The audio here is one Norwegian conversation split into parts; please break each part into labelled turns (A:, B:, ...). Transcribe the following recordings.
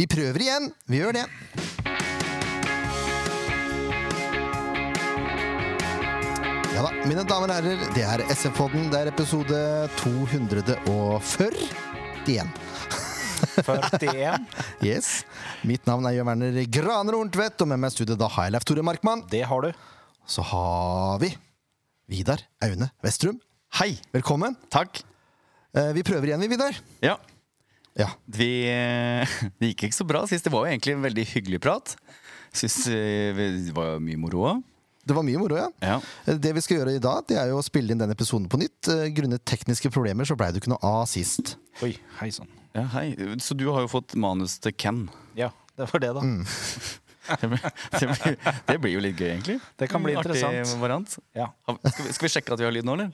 A: Vi prøver igjen. Vi gjør det. Ja da, mine damer og herrer, det er SF-podden. Det er episode 241.
B: 41.
A: Yes. Mitt navn er Jørn Werner Graner Horntvedt, og med meg i studio da har jeg Leif Tore Markmann.
B: Det har du.
A: Så har vi Vidar Aune Vestrum.
C: Hei.
A: Velkommen.
C: Takk.
A: Eh, Vi prøver igjen, vi, Vidar.
C: Ja,
A: Ja.
C: vi, eh, det gikk ikke så bra sist. Det var jo egentlig en veldig hyggelig prat. Syns eh, vi- det var mye moro òg.
A: Det var mye moro, ja.
C: Ja.
A: Eh, Det vi skal gjøre i dag, det er jo å spille inn den episoden på nytt. Eh, Grunnet tekniske problemer så blei det ikke noe av sist.
B: Oi, hei sann.
C: ja, hei. Så du har jo fått manus til Ken.
B: Ja, det var det, da.
A: Mm.
C: Det blir, det blir, det blir jo litt gøy, egentlig. Mm,
B: Det kan bli
C: Artig
B: interessant.
C: variant.
B: Ja.
C: Har- Skal vi, skal vi sjekke at vi har lyd nå, eller?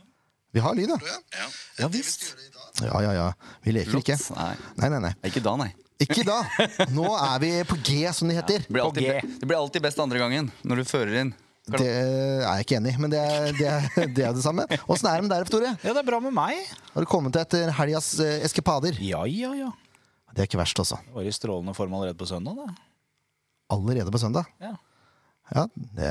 A: Vi har lyd, ja.
C: Ja visst.
A: Ja, ja, ja. Vi leker ikke.
C: Lots. Nei.
A: Nei, nei, nei.
C: Ikke da, nei.
A: Ikke da. Nå er vi på G, som det heter.
C: Det blir,
B: På
C: alltid,
B: G.
C: be- det blir alltid best andre gangen når du fører inn.
A: Det er jeg ikke enig i, men det er det, er, det, er det samme. Åssen er det med deg, F. Tore?
B: ja, det er bra med meg.
A: Har du kommet deg etter helgas eh, eskepader?
B: Ja, ja, ja.
A: Det er ikke verst, altså.
B: Det var i strålende form allerede på søndag, da.
A: Allerede på søndag.
B: Ja.
A: Ja, det,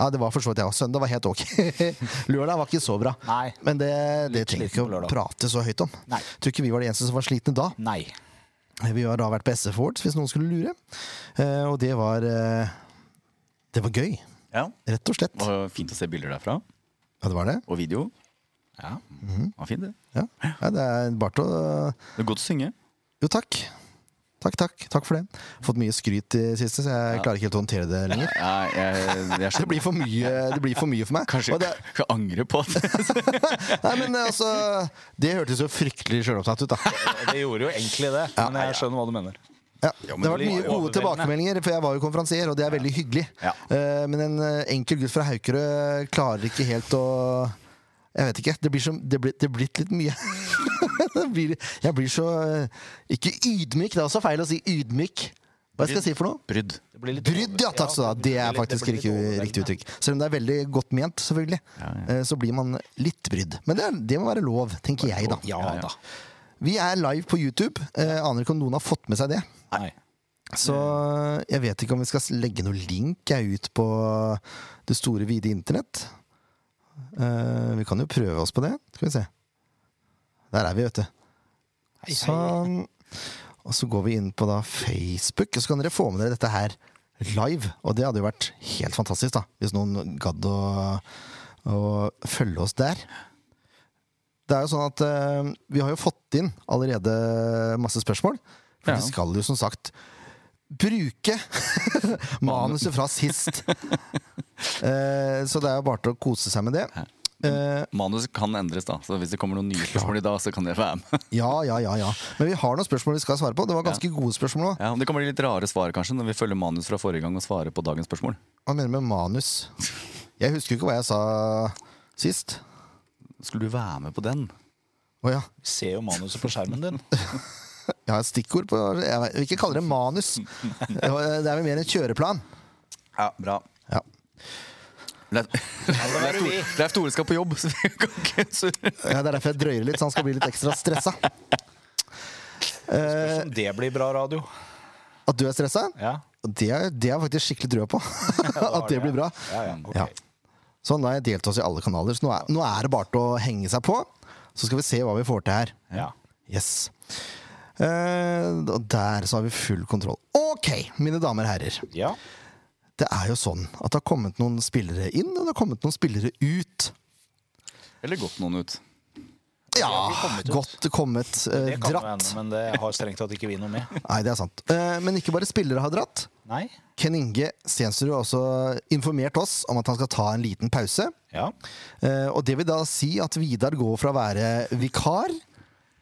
A: ja, det var for så vidt jeg også. Søndag var helt ok. Lørdag var ikke så bra.
B: Nei.
A: Men det, det
B: Litt
A: trenger vi
B: sliten
A: ikke
B: på
A: å
B: lørdag.
A: prate så høyt om.
B: Nei.
A: Tror ikke vi var de eneste som var slitne da.
B: Nei.
A: Vi har da vært på SF Awards, hvis noen skulle lure. Eh, og det var eh, Det var gøy,
C: Ja.
A: rett og slett.
C: Det var fint å se bilder derfra.
A: Ja, det var det.
C: Og video.
B: Ja.
A: Mhm.
C: Det var fint, det.
A: Ja, ja det er bare til å
C: Det er godt å synge.
A: Jo, takk. Takk, takk. Takk for det. Fått mye skryt i det siste, så jeg klarer ikke helt å håndtere det lenger.
C: Nei, jeg, jeg
A: Det blir for mye, det blir for, mye for meg.
C: Kanskje
A: Og det,
C: jeg angrer på at
A: nei, men altså, det hørtes jo fryktelig sjølopptatt ut, da.
B: Det gjorde jo egentlig det, men jeg skjønner hva du mener.
A: Ja.
C: men
A: Det har vært
B: det
A: mye
B: var jo
A: gode tilbakemeldinger, for jeg var jo konferansier, og det er veldig hyggelig.
C: Ja.
A: Eh, Men en eh, enkel gutt fra Haukerød klarer ikke helt å jeg vet ikke. Det blir, som, det blir, det er blitt litt mye. det blir, jeg blir så eh, Ikke ydmyk, det er også feil å si ydmyk. Hva skal jeg si for noe?
C: Brudd.
B: Det blir litt
A: Brydd, ja. Takk skal du ha. Det er faktisk ikke riktig uttrykk. Selv om det er veldig godt ment, selvfølgelig, eh, så blir man litt brydd. Men det, er, det må være lov, tenker jeg, da.
B: Ja da.
A: Vi er live på YouTube. Eh, aner ikke om noen har fått med seg det.
B: Nei.
A: Så jeg vet ikke om vi skal legge noen link jeg, ut på det store, vide internett. Eh, vi kan jo prøve oss på det. Skal vi se. Der er vi, vet du.
B: Hei, hei.
A: Sånn. Og så går vi inn på da Facebook, og så kan dere få med dere dette her live. Og det hadde jo vært helt fantastisk, da, hvis noen gadd å, å følge oss der. Det er jo sånn at eh, vi har jo fått inn allerede masse spørsmål. For
C: Ja.
A: vi skal jo som sagt bruke manuset fra sist. Eh, så det er jo bare til å kose seg med det. Eh,
C: Manuset kan endres, da. Så hvis det kommer noen nye spørsmål i dag, så kan dere være med.
A: Ja, ja, ja, ja. Men vi har noen spørsmål vi skal svare på. Det var ganske gode spørsmål òg.
C: Ja, men det kan bli litt rare svar, kanskje, når vi følger manus fra forrige gang og svarer på dagens spørsmål.
A: Hva mener du med manus? Jeg husker jo ikke hva jeg sa sist.
C: Skulle du være med på den?
A: Å ja.
B: Vi ser jo manuset på skjermen din.
A: Jeg har et stikkord på Jeg vet- jeg vil ikke kalle det manus. Det var- det er vel mer en kjøreplan.
C: Ja, bra.
A: Ja.
C: Leif
B: var
C: Leif
B: det vi.
A: Eh,
C: Tore Leif Tore skal på jobb, så vi kan ikke surre.
A: ja, Det er derfor jeg drøyer litt, så han skal bli litt ekstra stressa.
B: Som det blir bra radio.
A: At du er stressa,
B: Ja.
A: det er- det har jeg faktisk skikkelig trua på. At det blir bra.
B: Ja, ja. ok.
A: Ja. Sånn, da har jeg delt oss i alle kanaler, så nå er, nå er det bare til å henge seg på. Så skal vi se hva vi får til her.
B: ja.
A: Yes. Eh, og der så har vi full kontroll. Ok, mine damer og herrer.
B: ja.
A: Det er jo sånn at det har kommet noen spillere inn, og det har kommet noen spillere ut.
C: Eller gått noen ut.
A: Ja,
B: har vel kommet ut.
A: godt kommet. eh,
B: Det kan jo
A: dratt.
B: hende, men det har strengt tatt ikke vi noe med.
A: Nei, det er sant. Eh, men ikke bare spillere har dratt.
B: Nei.
A: Ken Inge Stensrud har også informert oss om at han skal ta en liten pause.
B: Ja.
A: Eh, og det vil da si at Vidar går fra å være vikar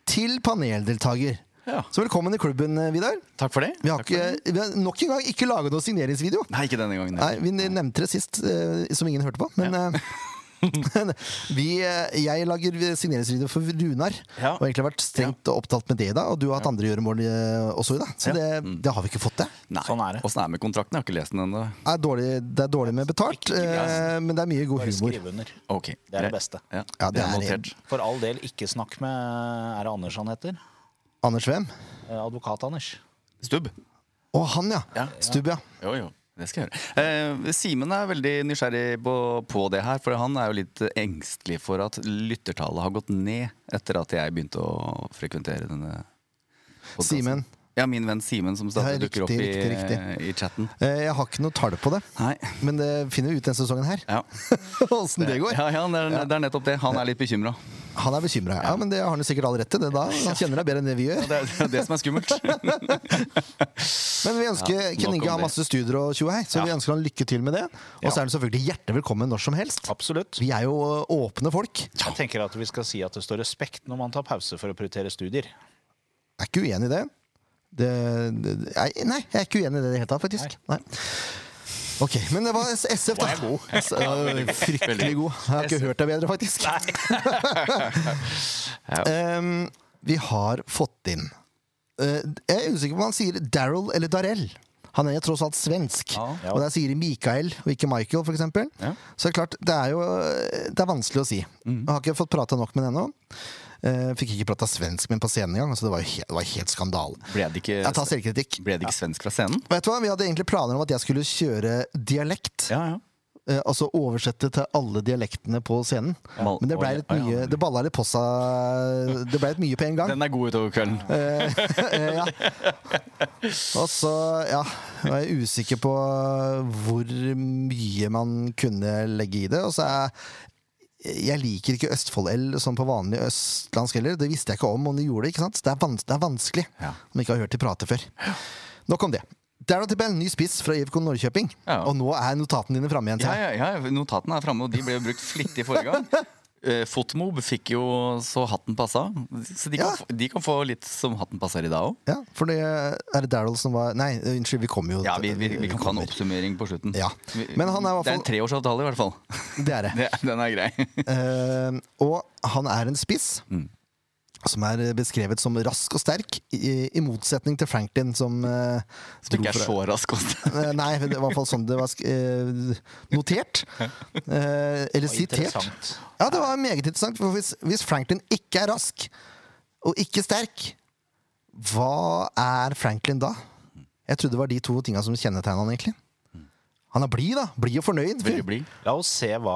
A: til paneldeltaker.
C: Ja.
A: Så velkommen i klubben, eh, Vidar.
C: Takk for det.
A: Vi har,
C: Takk for det.
A: ikke, vi har nok en gang ikke laget noen signeringsvideo.
C: Nei, ikke denne gangen.
A: Nei, vi nevnte det sist, eh, som ingen hørte på. Men eh, vi, eh, jeg lager signeringsvideo for Runar.
C: Ja.
A: Og egentlig har vært strengt opptatt med det i dag. Og du har hatt andre gjøremål eh, også i dag. Så
C: Ja. Mm.
A: det, det har vi ikke fått til.
C: Nei.
B: Sånn er det.
C: Åssen er det med kontrakten? Jeg har ikke lest den ennå.
A: Det er dårlig, det er dårlig med betalt, eh, men det er mye god
B: Bare
A: humor.
B: skriv under.
C: Ok.
B: Det er det beste.
C: Ja,
A: Ja, det
C: det er
A: er-
C: notert.
B: For all del, ikke snakk med Er det Anders han heter?
A: Anders Wem?
B: Eh, Advokat Anders.
C: Stubb.
A: Å, han, ja.
C: Ja.
A: Stubb, ja.
C: Jo, jo. Det skal jeg gjøre. Eh, Simen er veldig nysgjerrig på, på det her, for han er jo litt engstelig for at lyttertallet har gått ned etter at jeg begynte å frekventere denne podcasten.
A: Simen.
C: Ja, min venn Simen, som stadig
A: Ja,
C: dukker opp
A: riktig,
C: i,
A: riktig, riktig.
C: i chatten.
A: Eh, Jeg har ikke noe tall på det,
C: Nei.
A: men det finner vi ut denne sesongen her.
C: Ja.
A: Åssen det går.
C: Ja, ja, det, er, det er nettopp det. Han er litt bekymra.
A: Han er bekymra. Ja, men det har han jo sikkert all rett til. Det da. Han kjenner deg bedre enn det vi gjør.
C: Det er det er det som er skummelt.
A: Men vi ønsker
C: Ja, nok
A: Ken
C: om
A: Inge har
C: det.
A: masse studier og tjo og hei, så
C: Ja.
A: vi ønsker han lykke til med det. Og så
B: Ja.
A: er han selvfølgelig hjertelig velkommen når som helst.
B: Absolutt.
A: Vi er jo åpne folk.
B: Jeg tenker at vi skal si at det står respekt når man tar pause for å prioritere studier.
A: Jeg er ikke uenig i det. det, det nei, nei, jeg er ikke uenig i det i det hele tatt, faktisk. Nei. Ok, Men det var SF, da.
B: Var jeg god?
A: S- ja, Fryktelig god. Jeg har ikke hørt deg bedre, faktisk. Em, vi har fått inn eh, Jeg er usikker på om han sier Daryl eller Darell. Han er jo tross alt svensk.
C: Ja.
A: Og der sier de Mikael og ikke Michael, for eksempel.
C: Ja. Mm.
A: Så det er klart, det er jo eh, det er vanskelig å si. Jeg har ikke fått prata nok med den ennå. Eh, Fikk ikke prata svensk med den på scenen engang, så det var jo helt, det var helt skandale.
C: Ble det ikke,
A: Jeg tar selvkritikk.
C: ble det ikke svensk fra scenen?
A: Vet du hva, Vi hadde egentlig planer om at jeg skulle kjøre dialekt.
C: Ja, ja.
A: Eh, altså oversette til alle dialektene på scenen.
C: Ja.
A: Men det ble
C: Oi,
A: litt
C: oi, ja.
A: mye Det balla litt på seg Det ble litt mye på en gang.
C: Den er god utover kvelden.
A: Eh, ja. Og så, ja Var jeg usikker på hvor mye man kunne legge i det. Og så er jeg liker ikke Østfold-L som på vanlig østlandsk heller. Det visste jeg ikke om om de gjorde det. ikke sant? Det er, vans det er vanskelig
C: Ja.
A: om man ikke har hørt de prate før. Nok om det. Daryl Tippel, ny spiss fra IFK Norrköping.
C: Ja.
A: Og nå er notatene dine framme igjen.
C: Ja,
A: ser jeg.
C: ja, ja, notatene er framme, og de ble jo brukt flittig forrige gang. Eh, Fotmob fikk jo så hatten passa, så de kan,
A: Ja.
C: få, de kan få litt som hatten passer i dag òg.
A: Ja, for det er det Daryl som var Nei, unnskyld, vi kommer jo
C: Ja, vi, vi, vi kan ta en
A: kommer.
C: oppsummering på slutten.
A: Ja.
C: Vi-
A: Men han er i hvert
C: Det er en
A: fall-
C: treårsavtale, i hvert fall.
A: Det er det.
C: Det, den er grei.
A: Eh, og han er en spiss
C: Mm.
A: som er beskrevet som rask og sterk, i, i motsetning til Franklin, som eh, dro
C: Du ikke er
A: fra-
C: så rask også.
A: Eh, Nei, men det var i hvert fall sånn det var sk- eh, notert. Eh, eller
B: var
A: sitert.
B: interessant.
A: Ja, det var meget interessant. For hvis, hvis Franklin ikke er rask, og ikke sterk, hva er Franklin da? Jeg trodde det var de to tinga som kjennetegna han, egentlig. Han er blid, da. Blid og fornøyd. fyr.
C: Mm. Veldig blid.
B: La oss se hva,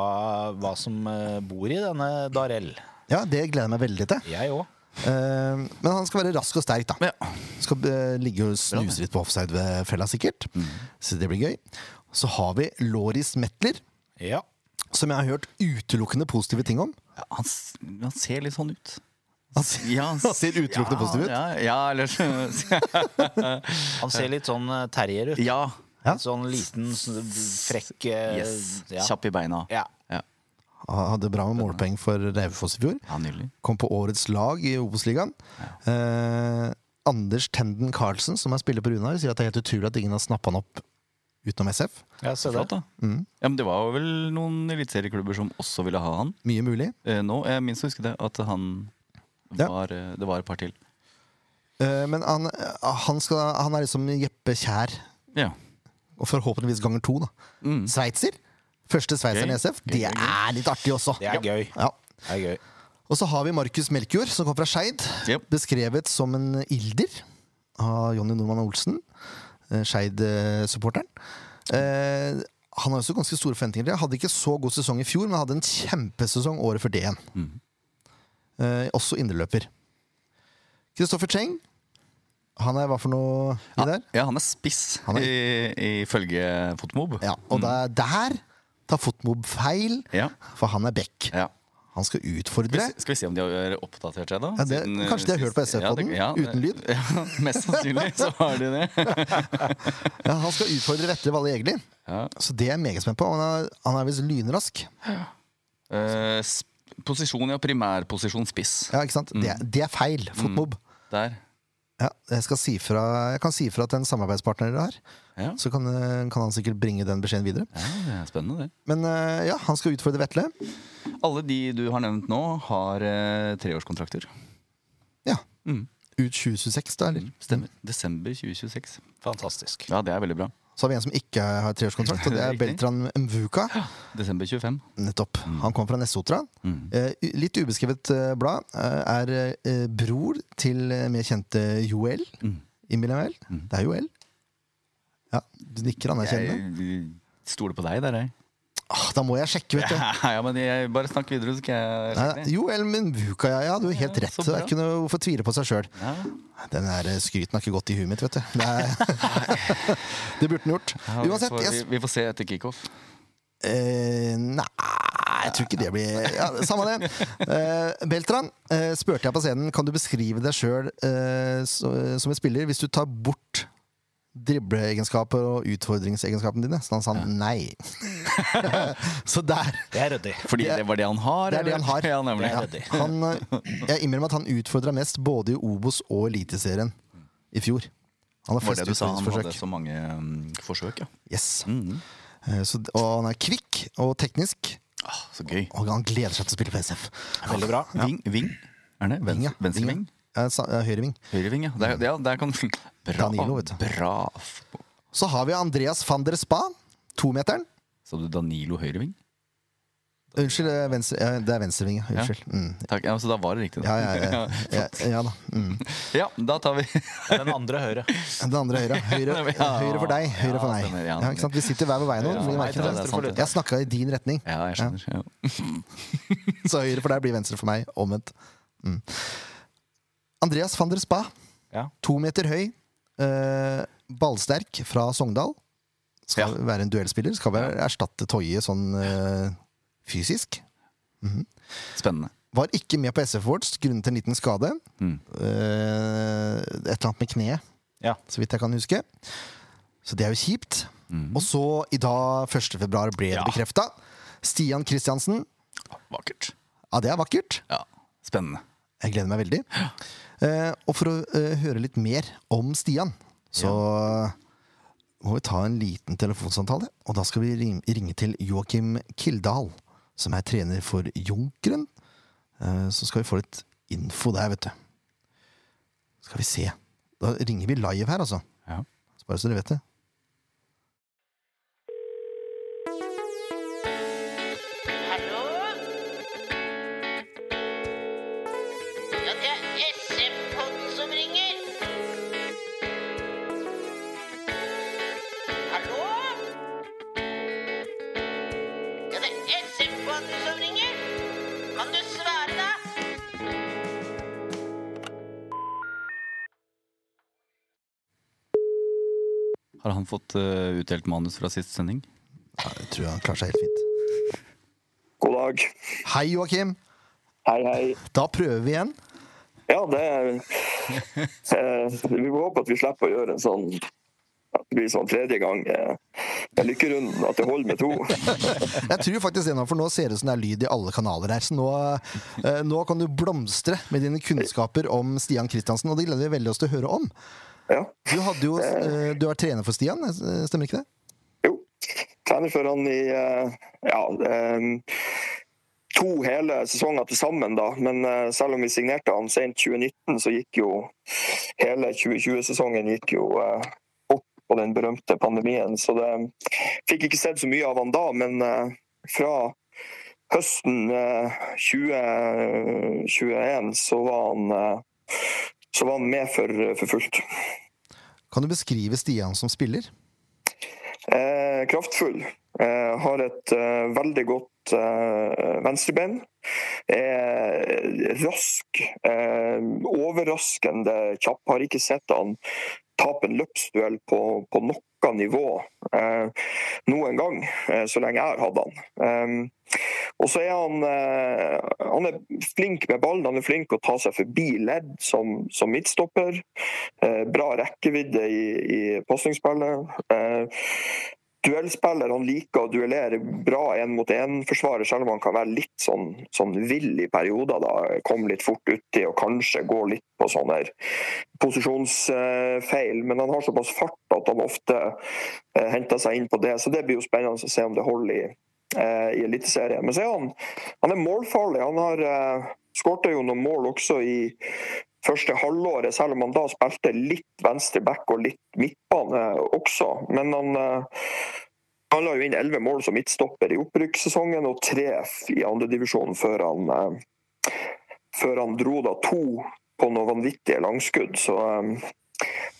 B: hva som eh, bor i denne Darell.
A: Ja, det gleder jeg meg veldig til.
B: Jeg òg.
A: Eh, men han skal være rask og sterk, da.
C: Ja.
A: Skal eh, ligge og snuse litt på offside-fella, sikkert.
C: Mm.
A: Så det blir gøy. Så har vi Loris Metler,
B: Ja.
A: som jeg har hørt utelukkende positive ting om.
C: Ja, han, s- han ser litt sånn ut.
A: Han ser,
C: Ja,
A: han ser utelukkende
C: ja,
A: positiv ut.
C: Ja, ja, eller
B: Han ser litt sånn eh, terrier ut.
C: Ja.
A: Ja.
B: Litt sånn liten, sånn frekk eh,
C: Yes.
B: ja.
C: Kjapp i beina.
B: Ja.
C: Ja.
A: Han hadde bra med målpoeng for Raufoss i fjor.
C: Ja, nydelig.
A: Kom på årets lag i Obos-ligaen. Eh, Anders Tenden Karlsen, som er spiller på Runar, sier at det er helt utrolig at ingen har snappa han opp utenom SF.
B: ja, se
C: Flott,
B: der.
C: da.
A: Mm.
C: Ja, men det var vel noen eliteserieklubber som også ville ha han.
A: Mye mulig.
C: eh, nå. Jeg minst husker det, at han
A: Ja.
C: var, eh, det var et par til.
A: Eh, men han, han, skal, han er liksom Jeppe Kjær,
C: Ja.
A: og forhåpentligvis ganger to. da Sveitser. Første sveitseren i
C: Mm. Gøy.
A: SF.
C: Gøy,
A: Det
C: gøy, gøy.
A: er litt artig også.
B: Det er gøy.
A: Ja.
B: Det er gøy.
A: Og så har vi Markus Melkjord, som kom fra Skeid.
C: Jep.
A: Beskrevet som en ilder av Jonny Normann Olsen, eh, Skeid-supporteren. Eh, han har også ganske store forventninger. til det. Hadde ikke så god sesong i fjor, men hadde en kjempesesong året før det igjen.
C: Mm.
A: Eh, også indreløper. Kristoffer Cheng. Han er hva for noe i der?
C: ja, han er spiss,
A: Han er-
C: i- ifølge Fotmob.
A: Ja, og der, der tar Fotmob feil,
C: Ja.
A: for han er back.
C: Ja.
A: Han skal utfordre.
C: Skal vi- Skal vi se om de har oppdatert seg, da?
A: Ja, det-
C: eh,
A: kanskje de har hørt på
C: sist- ja, det-
A: SF-podden,
C: ja,
A: uten lyd?
C: Ja, mest sannsynlig så har de det.
A: Ja, han skal utfordre Vetle Valle Egli.
C: Ja.
A: Så det er jeg meget spent på. Han er, han er visst lynrask.
C: Eh, s- posisjon, ja. Primærposisjon spiss.
A: Ja, ikke sant? Det,
C: Mm.
A: er- det er feil. Fotmob.
C: Der.
A: Ja, jeg, skal si fra, jeg kan si fra til en samarbeidspartner dere har.
C: Ja.
A: Så kan, eh, kan han sikkert bringe den beskjeden videre.
C: ja, det er spennende, det.
A: Men eh, ja, han skal utfordre Vetle.
C: Alle de du har nevnt nå, har eh, treårskontrakter.
A: Ja.
C: Mm.
A: Ut 2026, da, eller?
C: Stemmer. Desember 2026.
B: Fantastisk.
C: Ja, det er veldig bra.
A: Så har vi en som ikke har treårskontrakt, og det er
C: Riktig.
A: Beltran Mvuka.
C: Desember 25.
A: Nettopp.
C: Mm.
A: Han kom fra Nessotra. Eh, u- litt
C: Mm.
A: ubeskrevet eh, blad. Eh, er eh, bror til eh, mer kjente Joel innbiller jeg meg vel. Det er jo L. Ja, du nikker anerkjennende.
C: Jeg stoler på deg der, jeg.
A: Ah, da må jeg sjekke, vet du.
C: Ja, ja, men jeg bare snakk videre, så skal jeg
A: Nei,
C: sjekke det.
A: jo, L, men Vuka, ja, ja, du har helt
C: Ja,
A: rett.
C: så
A: Det er
C: bra.
A: ikke noe hvorfor tvile på seg sjøl.
C: Ja.
A: Den der skryten har ikke gått i huet mitt, vet du. Det, er, det burde den gjort.
C: Ja, vi,
A: Uansett,
C: får,
A: jeg
C: vi, vi får se etter kickoff.
A: Eh, nei, jeg tror ikke det blir ja, Samme det. Eh, Beltran, eh, spurte jeg på scenen, kan du beskrive deg sjøl eh, så- som en spiller hvis du tar bort dribleegenskaper og utfordringsegenskapene dine? Så han sa nei. så der
B: Det er ryddig.
C: Fordi det, var det han har?
A: det er det
C: eller?
A: han har.
C: Ja, nemlig.
A: Ja. Han, eh, jeg innrømmer at han utfordra mest både i Obos og Eliteserien i fjor. Han har
C: Det var
A: flest
C: det du sa, han hadde
A: utfordringsforsøk.
C: så mange um, forsøk, ja.
A: Yes.
C: Mhm.
A: Eh, så, og han er kvikk og teknisk,
C: Ah, så gøy.
A: og han gleder seg til å spille på SF.
B: Veldig bra.
C: Ving, ving? Er det?
A: Ving, ja.
C: Venstre, venstre
A: Ving,
C: ving?
A: ja. Eh, sa- eh, Høyre ving.
C: Høyre ving, ja. Der, ja, der kan Bra.
A: Danilo, vet du.
C: Bra.
A: Så har vi Andreas van der Spa. Tometeren.
C: Sa du Danilo høyre ving?
A: Unnskyld, eh, venstre, eh, det er venstreving. ja. Unnskyld. Mm.
C: Takk, ja, Så da var det riktig.
A: Ja,
C: Da.
A: ja, ja, ja, ja da. Mm.
C: Ja, da tar vi
B: Det er Den andre høyre.
A: Den andre høyre. Høyre,
C: Ja.
A: høyre for deg, høyre for meg.
C: stemmer, ja.
A: Ja, ikke sant? Vi sitter hver ved veien nå.
C: Ja,
A: fordi vi
C: nei,
A: merker
C: det er
A: det.
C: sant, det.
A: Jeg snakka i din retning,
C: Ja, jeg skjønner. Ja.
A: så høyre for deg blir venstre for meg. Omvendt. Mm. Andreas van der Spa.
B: Ja.
A: To meter høy. eh, ballsterk fra Sogndal. Skal være en duellspiller. Skal vel erstatte Toje sånn eh, fysisk.
C: Spennende.
A: Var ikke med på SF Awards grunnet en liten skade.
C: Mm.
A: Eh, et eller annet med kneet,
B: Ja.
A: så vidt jeg kan huske. Så det er jo kjipt. Og så i dag, 1. februar, ble det
C: Ja.
A: bekrefta. Stian Kristiansen.
C: Ah, Vakkert.
A: Ja, det er vakkert.
C: Ja, spennende.
A: Jeg gleder meg veldig. Eh, og for å eh, høre litt mer om Stian, så må vi ta en liten telefonsamtale. Og da skal vi ring- ringe til Joakim Kildahl, som er trener for Junkeren. Eh, så skal vi få litt info der, vet du. Skal vi se. Da ringer vi live her, altså.
C: Ja.
A: Så Bare så dere vet det.
D: Hallo? Ja, det er SM-podden som ringer. Hallo? Ja, det er SM-podden som ringer. Kan du svare, da?
C: Har han fått eh, utdelt manus fra sist sending?
A: Ja, jeg tror han klarer seg helt fint.
E: God dag.
A: Hei, Joakim.
E: Hei, hei.
A: Da prøver vi igjen.
E: Ja, det er eh, Vi må håpe at vi slipper å gjøre en sånn at det blir sånn tredje gang eh, en lykkerunde, at det holder med to.
A: Jeg tror faktisk det nå, for nå ser det ut som det er lyd i alle kanaler her. Så nå, eh, nå kan du blomstre med dine kunnskaper om Stian Kristiansen, og det gleder vi veldig oss til å høre om.
E: Ja.
A: Du, hadde jo, eh, du er trener for Stian, eh, stemmer ikke det?
E: Jo. Trener for han i eh, ja, em, to hele sesonger til sammen, da. Men eh, selv om vi signerte han sent 2019, så gikk jo hele 2020-sesongen gikk jo eh, opp på den berømte pandemien. Så det fikk ikke sett så mye av han da, men eh, fra høsten eh, 2021 så var han eh, så var han med for, for fullt.
A: Kan du beskrive Stian som spiller?
E: Eh, kraftfull. Eh, har et eh, veldig godt eh, venstreben. Er rask. Eh, overraskende kjapp. Har ikke sett han tape en løpsduell på, på noe nivå eh, noen gang, eh, så lenge jeg har hatt han. Eh, og så er han, eh, han er flink med ballen. Han er flink å ta seg forbi ledd som, som midtstopper. Eh, bra rekkevidde i, i pasningsspillet. Eh, duellspiller. Han liker å duellere bra én mot én-forsvarer, selv om han kan være litt sånn, sånn vill i perioder. da, Komme litt fort uti og kanskje gå litt på sånne her posisjonsfeil. Men han har såpass fart at han ofte eh, henter seg inn på det, så det blir jo spennende å se om det holder i eh, i Eliteserien. Men så er han, han er målfarlig. Han har eh, skårte jo noen mål også i første halvåret, selv om han da spilte litt venstre back og litt midtbane også. Men han eh, han la jo inn elleve mål som midtstopper i opprykkssesongen og tre f- i andredivisjon før han eh, før han dro da to på noen vanvittige langskudd. Så eh,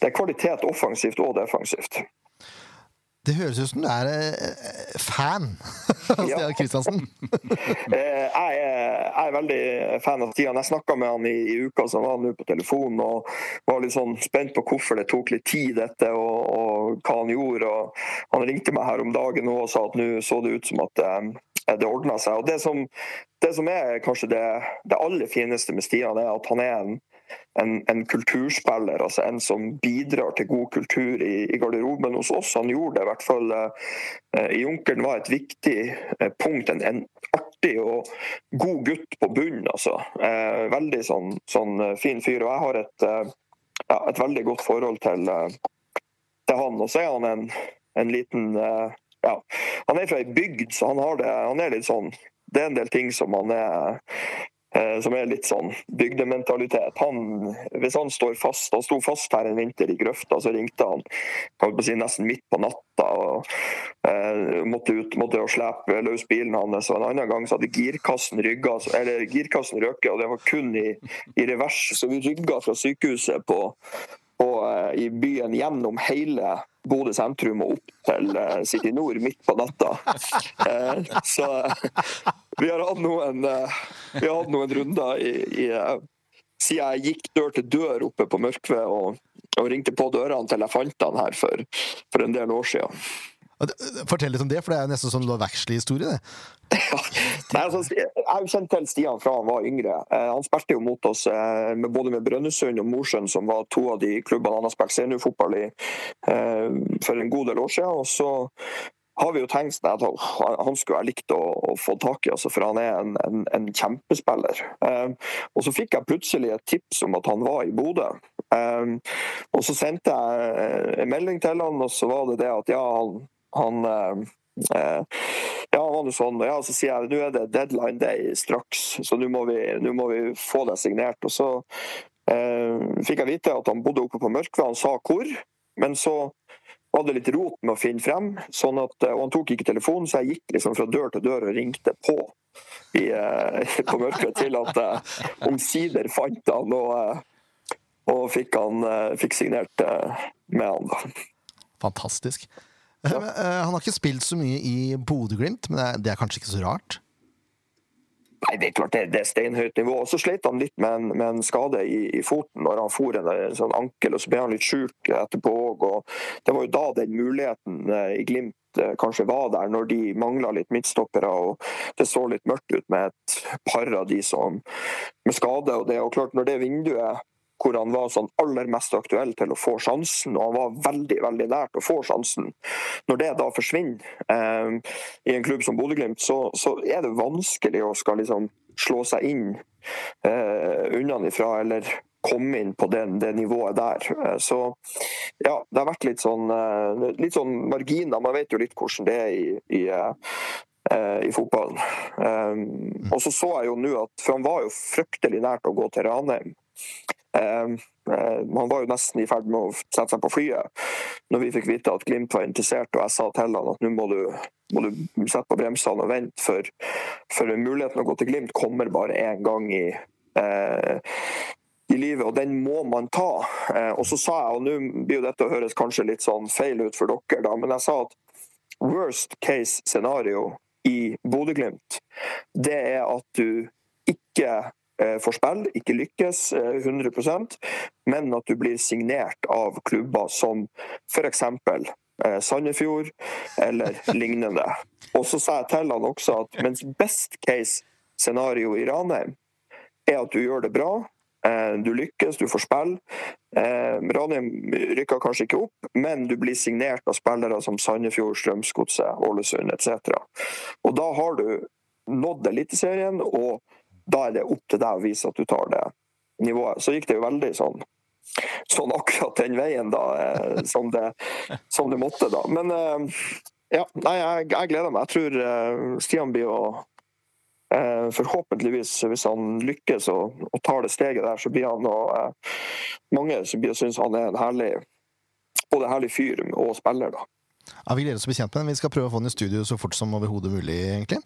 E: Det er kvalitet offensivt og defensivt.
A: Det høres ut som du er eh, fan av
E: Ja.
A: Stian Kristiansen.
E: Eh, jeg, er, jeg er veldig fan av Stian. Jeg snakka med han i, i uka som var han nå på telefonen, og var litt sånn spent på hvorfor det tok litt tid, dette, og, og hva han gjorde. Og han ringte meg her om dagen og sa at nå så det ut som at eh, det ordna seg. Og det som, det som er kanskje det, det aller fineste med Stian, er at han er en en, en kulturspiller, altså en som bidrar til god kultur i, i garderoben hos oss. Han gjorde det i hvert fall eh, i Junkeren var et viktig eh, punkt. En, en artig og god gutt på bunnen, altså. Eh, veldig sånn, sånn eh, fin fyr. Og jeg har et, eh, ja, et veldig godt forhold til, eh, til han. Og så er han en, en liten eh, ja, Han er fra ei bygd, så han, har det, han er litt sånn Det er en del ting som han er eh, som er litt sånn bygdementalitet. Han, hvis han står fast, han sto fast her en vinter i grøfta, så ringte han kan på si, nesten midt på natta og eh, måtte ut, måtte jo slepe løs bilen hans. Og en annen gang så hadde girkassen rygga, så- eller girkassen røket, og det var kun i, i revers. Så vi rygga fra sykehuset på, på, eh, i byen gjennom hele Bodø sentrum og opp til eh, City Nord midt på natta. Eh, så vi har hatt noen, eh, vi har hatt noen runder i, i eh, siden jeg gikk dør til dør oppe på Mørkve og, og ringte på dørene til jeg fant han her for, for en del år siden.
A: Og det- eh, Fortell litt om det, for det er jo nesten sånn Love Actually-historie. det.
E: Nei, altså, Sti- jeg har jo kjent til Stian fra han var yngre. Eh, han spilte jo mot oss eh, med, både med Brønnøysund og Mosjøen, som var to av de klubbene han har spilt seniorfotball i eh, for en god del år siden. Og så har vi jo tenkt sånn at åh, han skulle jeg likt å, å få tak i, altså, for han er en, en, en kjempespiller. Eh, og så fikk jeg plutselig et tips om at han var i Bodø. Eh, og så sendte jeg eh, en melding til han, og så var det det at ja, han, han eh, Eh, Ja, han var noe sånn, og ja, så sier jeg nå er det deadline day straks, så nå må, vi- nå må vi få deg signert. Og så eh, fikk jeg vite at han bodde oppe på Mørkve, han sa hvor, men så var det litt rot med å finne frem, sånn at, og han tok ikke telefonen, så jeg gikk liksom fra dør til dør og ringte på. I, eh, på Mørkve til at jeg omsider fant han og, eh, og fikk, han, eh, fikk signert eh, med han. da.
A: Fantastisk. Eh, men, eh, Han har ikke spilt så mye i Bodø-Glimt, men det er, det er kanskje ikke så rart?
E: Nei, det er klart det, det er steinhøyt nivå. Og Så slet han litt med en, med en skade i, i foten når han for en, en sånn ankel, og så ble han litt sjuk etterpå òg. Det var jo da den muligheten eh, i Glimt eh, kanskje var der, når de mangla litt midtstoppere og det så litt mørkt ut med et par av de som med skade. og det, og klart Når det vinduet hvor han var sånn aller mest aktuell til å få sjansen, og han var veldig veldig nært å få sjansen. Når det da forsvinner eh, i en klubb som Bodø-Glimt, så, så er det vanskelig å skal liksom slå seg inn eh, unnanifra eller komme inn på den, det nivået der. Eh, Så ja, det har vært litt sånn, eh, litt sånn marginer. Man vet jo litt hvordan det er i, i eh, eh, i fotballen. Eh, og så så jeg jo nå at For han var jo fryktelig nært å gå til Ranheim. Eh, eh, han var jo nesten i ferd med å sette seg på flyet når vi fikk vite at Glimt var interessert, og jeg sa til han at nå må du, må du sette på bremsene og vente, for, for muligheten å gå til Glimt kommer bare én gang i eh, i livet, og den må man ta. Eh, og så sa jeg, og nå blir jo dette å høres kanskje litt sånn feil ut for dere, da, men jeg sa at worst case scenario i Bodø-Glimt, det er at du ikke eh, får spille, ikke lykkes eh, 100 men at du blir signert av klubber som f.eks. Eh, Sandefjord eller lignende. Og så sa jeg til han også at mens best case scenario i Ranheim er at du gjør det bra, eh, du lykkes, du får spille. Eh, Ranheim rykker kanskje ikke opp, men du blir signert av spillere som Sandefjord, Strømsgodset, Ålesund etc. Og da har du nådd Eliteserien, og da er det opp til deg å vise at du tar det nivået. Så gikk det jo veldig sånn sånn akkurat den veien, da, eh, som det, som det måtte, da. Men eh, ja, nei, jeg, jeg gleder meg. Jeg tror eh, Stian blir å Eh, forhåpentligvis, hvis han lykkes og, og tar det steget der, så blir han og, eh, mange som blir- synes han er en herlig både herlig fyr og spiller. da.
A: Ja, vi gleder oss til å bli kjent med den. Vi skal prøve å få den i studio så fort som overhodet mulig. egentlig.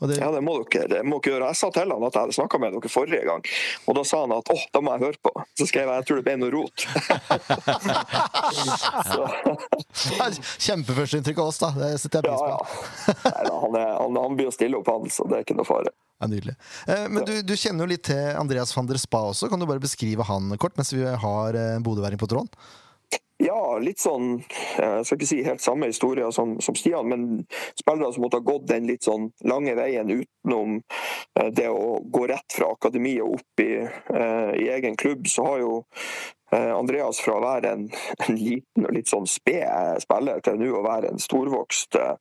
A: Og det,
E: Ja, det må dere, det må dere gjøre. Jeg sa til han at jeg hadde snakka med dere forrige gang, og da sa han at åh, da må jeg høre på. Så skrev jeg jeg tror det ble noe rot. så,
A: er Kjempeførsteinntrykk av oss, da. Det setter jeg
E: ja,
A: pris på.
E: ja. Neida, han, er, han, han blir jo stille opp, han, så det er ikke noe fare.
A: Ja, nydelig. Eh, men du, du kjenner jo litt til Andreas van der Spa også. Kan du bare beskrive han kort, mens vi har eh, en bodøværing på tråden?
E: Ja, litt sånn eh, Jeg skal ikke si helt samme historie som, som Stian, men spillere som måtte ha gått den litt sånn lange veien utenom eh, det å gå rett fra akademiet og opp i, eh, i egen klubb, så har jo eh, Andreas fra å være en, en liten og litt sånn sped spiller til nå å være en storvokst, eh,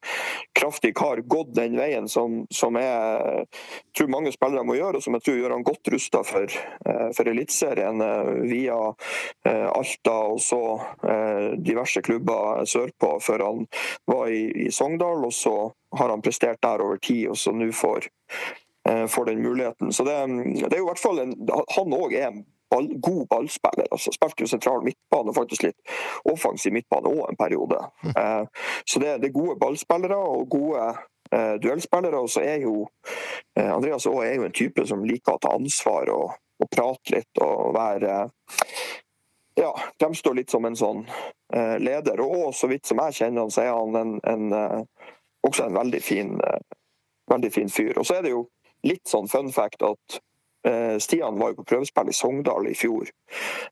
E: kraftig kar, gått den veien som, som jeg eh, tror mange spillere må gjøre, og som jeg tror gjør han godt rusta for, eh, for Eliteserien eh, via eh, Alta og så eh, diverse klubber sørpå, før han var i, i Sogndal. Og så har han prestert der over tid, og så nå får, eh, får den muligheten. Så det, det er jo i hvert fall en, Han òg er en ball, god ballspiller. altså Spilte jo sentral midtbane, faktisk litt offensiv midtbane òg en periode. Eh, så det, det er gode ballspillere og gode eh, duellspillere. Og så er jo eh, Andreas Aa er jo en type som liker å ta ansvar og, og prate litt og være ja, fremstår litt som en sånn eh, leder. Og også, så vidt som jeg kjenner han, så er han en, en, eh, også en veldig fin, eh, veldig fin fyr. Og så er det jo litt sånn fun fact at eh, Stian var jo på prøvespill i Sogndal i fjor.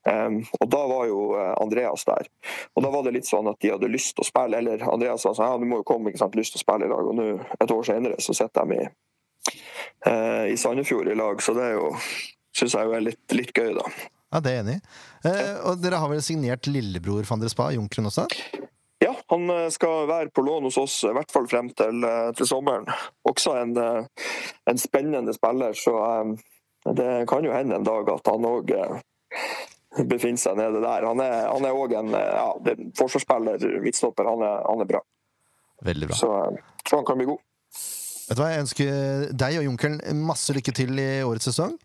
E: Em, og da var jo eh, Andreas der. Og da var det litt sånn at de hadde lyst til å spille, eller Andreas sa sånn, ja, du må jo komme, ikke sant, lyst til å spille i dag. Og nå, et år senere, så sitter de i, eh, i Sandefjord i lag, så det er jo Syns jeg jo er litt, litt gøy, da.
A: Ja, det er jeg enig i. Eh, og dere har vel signert lillebror van der Spa, Junkeren også?
E: Ja, han eh, skal være på lån hos oss, i hvert fall frem til, eh, til sommeren. Også en, eh, en spennende spiller, så eh, det kan jo hende en dag at han òg befinner seg nede der. Han er- Han er òg en eh, ja, det er forsvarsspiller, midtstopper. Han er, han er bra,
A: Veldig
E: så eh, tror han kan bli god.
A: Vet du hva, Jeg ønsker deg og Junkeren masse lykke til i årets sesong.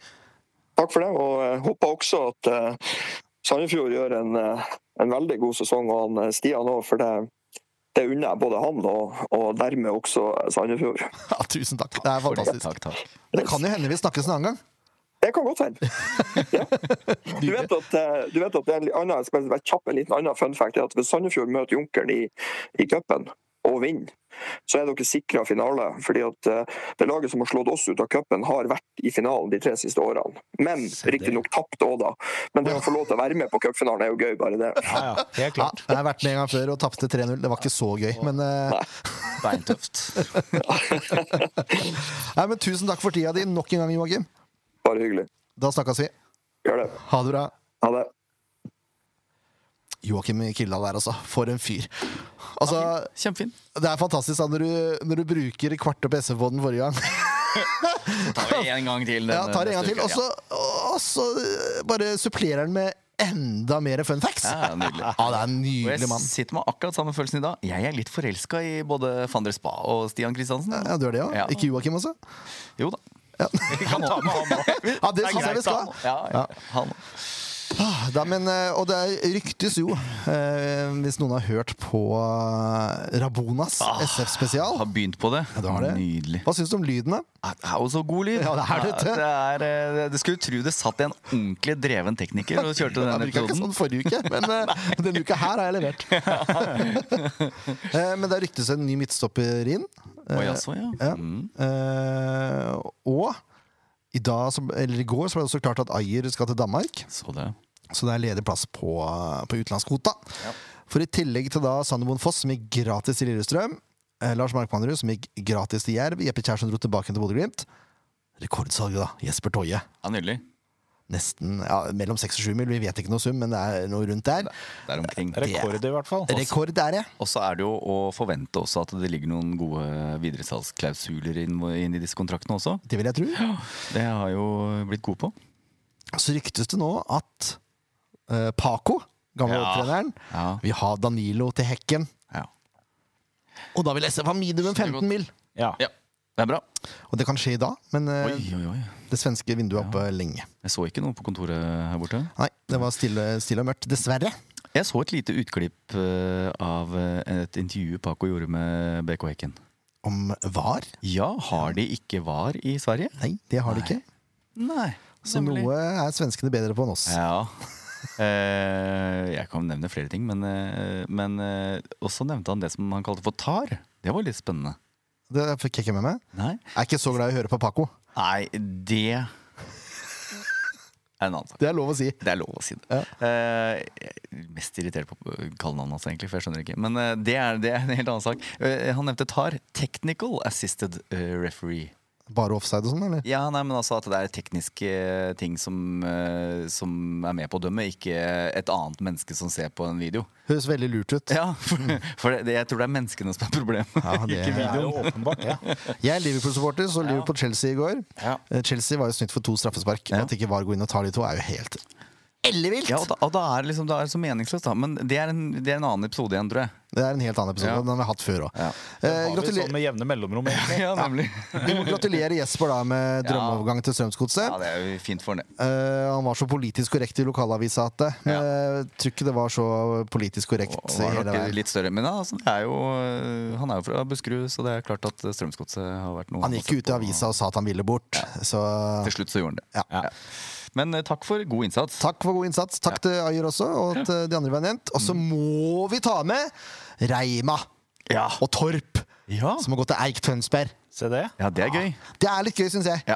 E: Takk for det, og jeg håper også at eh, Sandefjord gjør en, eh, en veldig god sesong, og han eh, Stian òg, for det, det unner jeg både han og, og dermed også Sandefjord.
A: Ja, tusen takk. Det er
C: For det.
A: fantastisk.
C: Takk, takk.
A: Det kan jo hende vi snakkes en annen gang.
E: Det kan godt hende. Ja. Du, vet at, eh, du vet at det er en annen, jeg skal bare kjapp en liten annen fun fact, det er at hvis Sandefjord møter Junkeren i, i cupen og vinner, så er dere sikra finale. fordi at eh, det laget som har slått oss ut av cupen, har vært i finalen de tre siste årene. Men
B: Se det.
E: riktignok tapt òg, da. Men det å få lov til å være med på cupfinalen er jo gøy, bare det.
B: Ja, ja, helt
A: Ja,
B: klart.
A: jeg har vært med en gang før og tapte 3-0. Det var ikke så gøy, men eh,
C: Beintøft.
A: Nei, men tusen takk for tida di nok en gang, Joakim.
E: Bare hyggelig.
A: Da snakkes vi.
E: Gjør det.
A: Ha det bra.
E: Ha det.
A: Joakim Kildahl der, altså. For en fyr. Altså,
C: Kjempefin.
A: det er fantastisk da, når du, når du bruker kvart opp SF-båten forrige gang.
C: Tar vi en gang til.
A: Ja,
C: denne
A: tar det en gang til.
C: eh, neste uke.
A: Og så, og så eh, bare supplerer den med enda mer fun facts.
C: Ja, ja, nydelig.
A: Ja, det er en
C: Og
A: nydelig
C: jeg
A: mann.
C: sitter med akkurat samme følelsen i dag. Jeg er litt forelska i både van der Spa og Stian Kristiansen.
A: Ja, du er det òg?
C: Ja.
A: Ikke Joakim også?
C: Jo da.
B: Vi kan ta med han nå.
A: Ja, det
B: er
A: syns jeg
B: greit,
A: vi skal.
C: Ja, ja.
A: Ja.
C: Han.
A: Da, men, eh, og det er- ryktes jo, eh, hvis noen har hørt på eh, Rabonas SF-spesial
C: har begynt på det.
A: du har det.
C: Ah, Nydelig.
A: Hva syns du om lyden, da?
C: Det er jo så god lyd.
A: Ja, det er det, vet du.
C: det er, eh, du skulle tro det satt en ordentlig dreven tekniker og kjørte
A: Jeg
C: den
A: bruker ikke
C: episoden.
A: sånn forrige uke, men eh, denne uka her har jeg levert. Eh, men det ryktes en ny midtstopper inn.
C: Å, jaså, ja.
A: sånn. Ja.
C: Mm.
A: Eh, og i, dag, som- eller i går så ble det også klart at Ayer skal til Danmark,
C: Så det.
A: så det er ledig plass på, eh, på utenlandskvota. For i tillegg til da Sandebond Foss, som gikk gratis til Lillestrøm, eh, Lars Markmannerud, som gikk gratis til Jerv, Jeppe Kjærsen dro tilbake til Bodø-Glimt. Rekordsalget, da. Jesper Toje.
C: Ja, nydelig.
A: Nesten ja, mellom seks og sju mil, vi vet ikke noe sum, men det er noe rundt der.
C: Der omkring.
B: Rekord, i hvert fall. Altså,
A: Rekord der, ja.
C: Og så er det jo å forvente også at det ligger noen gode videresalgsklausuler inn, inn i disse kontraktene også.
A: Det vil jeg tro.
C: Det har jeg jo blitt god på.
A: Så ryktes det nå at eh, Paco, gamle
C: Ja.
A: opptreneren,
C: Ja.
A: vil ha Danilo til hekken.
C: Ja.
A: Og da vil SF ha minimum 15 mil!
B: Ja.
C: ja. Det er bra.
A: Og det kan skje i dag, men eh,
C: Oi, oi, oi.
A: det svenske vinduet er oppe lenge.
C: Jeg så ikke noe på kontoret her borte.
A: Nei, det var stille, stille og mørkt. Dessverre.
C: Jeg så et lite utklipp eh, av eh, et intervju Paco gjorde med BK Hekken.
A: Om var?
C: Ja, har de ikke VAR i Sverige?
A: Nei, det har de ikke.
C: Nei.
A: Så noe er svenskene bedre på enn oss.
C: Ja. Eh, jeg kan nevne flere ting, men, eh, men eh, også nevnte han det som han kalte for tar. Det var litt spennende.
A: Det fikk jeg ikke med meg.
C: Nei,
A: Jeg er ikke så glad i å høre på Paco.
C: Nei det er en annen sak.
A: Det er lov å si.
C: Det er lov å si det.
A: Ja.
C: Eh, jeg er mest irritert på kallenavnet hans, egentlig, for jeg skjønner ikke. Men eh, det, er, det er en helt annen sak. Eh, han nevnte TAR, Technical Assisted eh, Referee.
A: Bare offside og sånn, eller?
C: Ja, nei, men altså at det er tekniske ting som, eh, som er med på å dømme, ikke et annet menneske som ser på en video.
A: Høres veldig lurt ut.
C: Ja, for, for det, jeg tror det er menneskene som er problemet.
A: Ja, det-
C: ikke
B: Det er
C: videoen.
B: jo åpenbart, det.
A: Jeg er Liverpool-supporter, så Liverpool-Chelsea i går. Eh, Chelsea var jo snytt for to straffespark.
C: Ja.
A: At ikke VAR går inn og tar de to, er jo helt ellevilt!
C: Ja, og da, og da er det liksom, da er det så meningsløst, da. Men det er, en, det er en annen episode igjen, tror jeg.
A: Det er en helt annen episode.
C: Ja.
A: Den har vi hatt før Eh, òg.
C: Ja.
B: Har vi sånn med jevne mellomrom, egentlig?
C: Ja, nemlig.
A: Vi må gratulere Jesper da med
C: Ja.
A: drømmeovergang til Strømsgodset.
C: Ja, det er jo fint for ham, det.
A: Eh, han var så politisk korrekt i lokalavisa at det. Men jeg tror ikke det var så politisk korrekt
C: Og var
A: hele
C: nok
A: veien.
C: litt større, men ja, altså, det er jo, øh, han er jo fra Buskerud, så det er klart at Strømsgodset har vært noe
A: Han gikk
C: har
A: jo ut
C: sett
A: i
C: på.
A: avisa og sa at han ville bort. Så
C: Til slutt så gjorde han det.
A: Ja.
C: Ja. Men øh, takk for god innsats.
A: takk for god innsats. Takk til Ayer også, og til de andre vi har nevnt. Og
C: Mm.
A: så må vi ta med Reima
C: Ja.
A: og Torp,
C: Ja.
A: som har gått til Eik Tønsberg.
B: Se det.
C: ja, det er gøy.
A: Det er litt gøy, syns jeg.
C: Ja.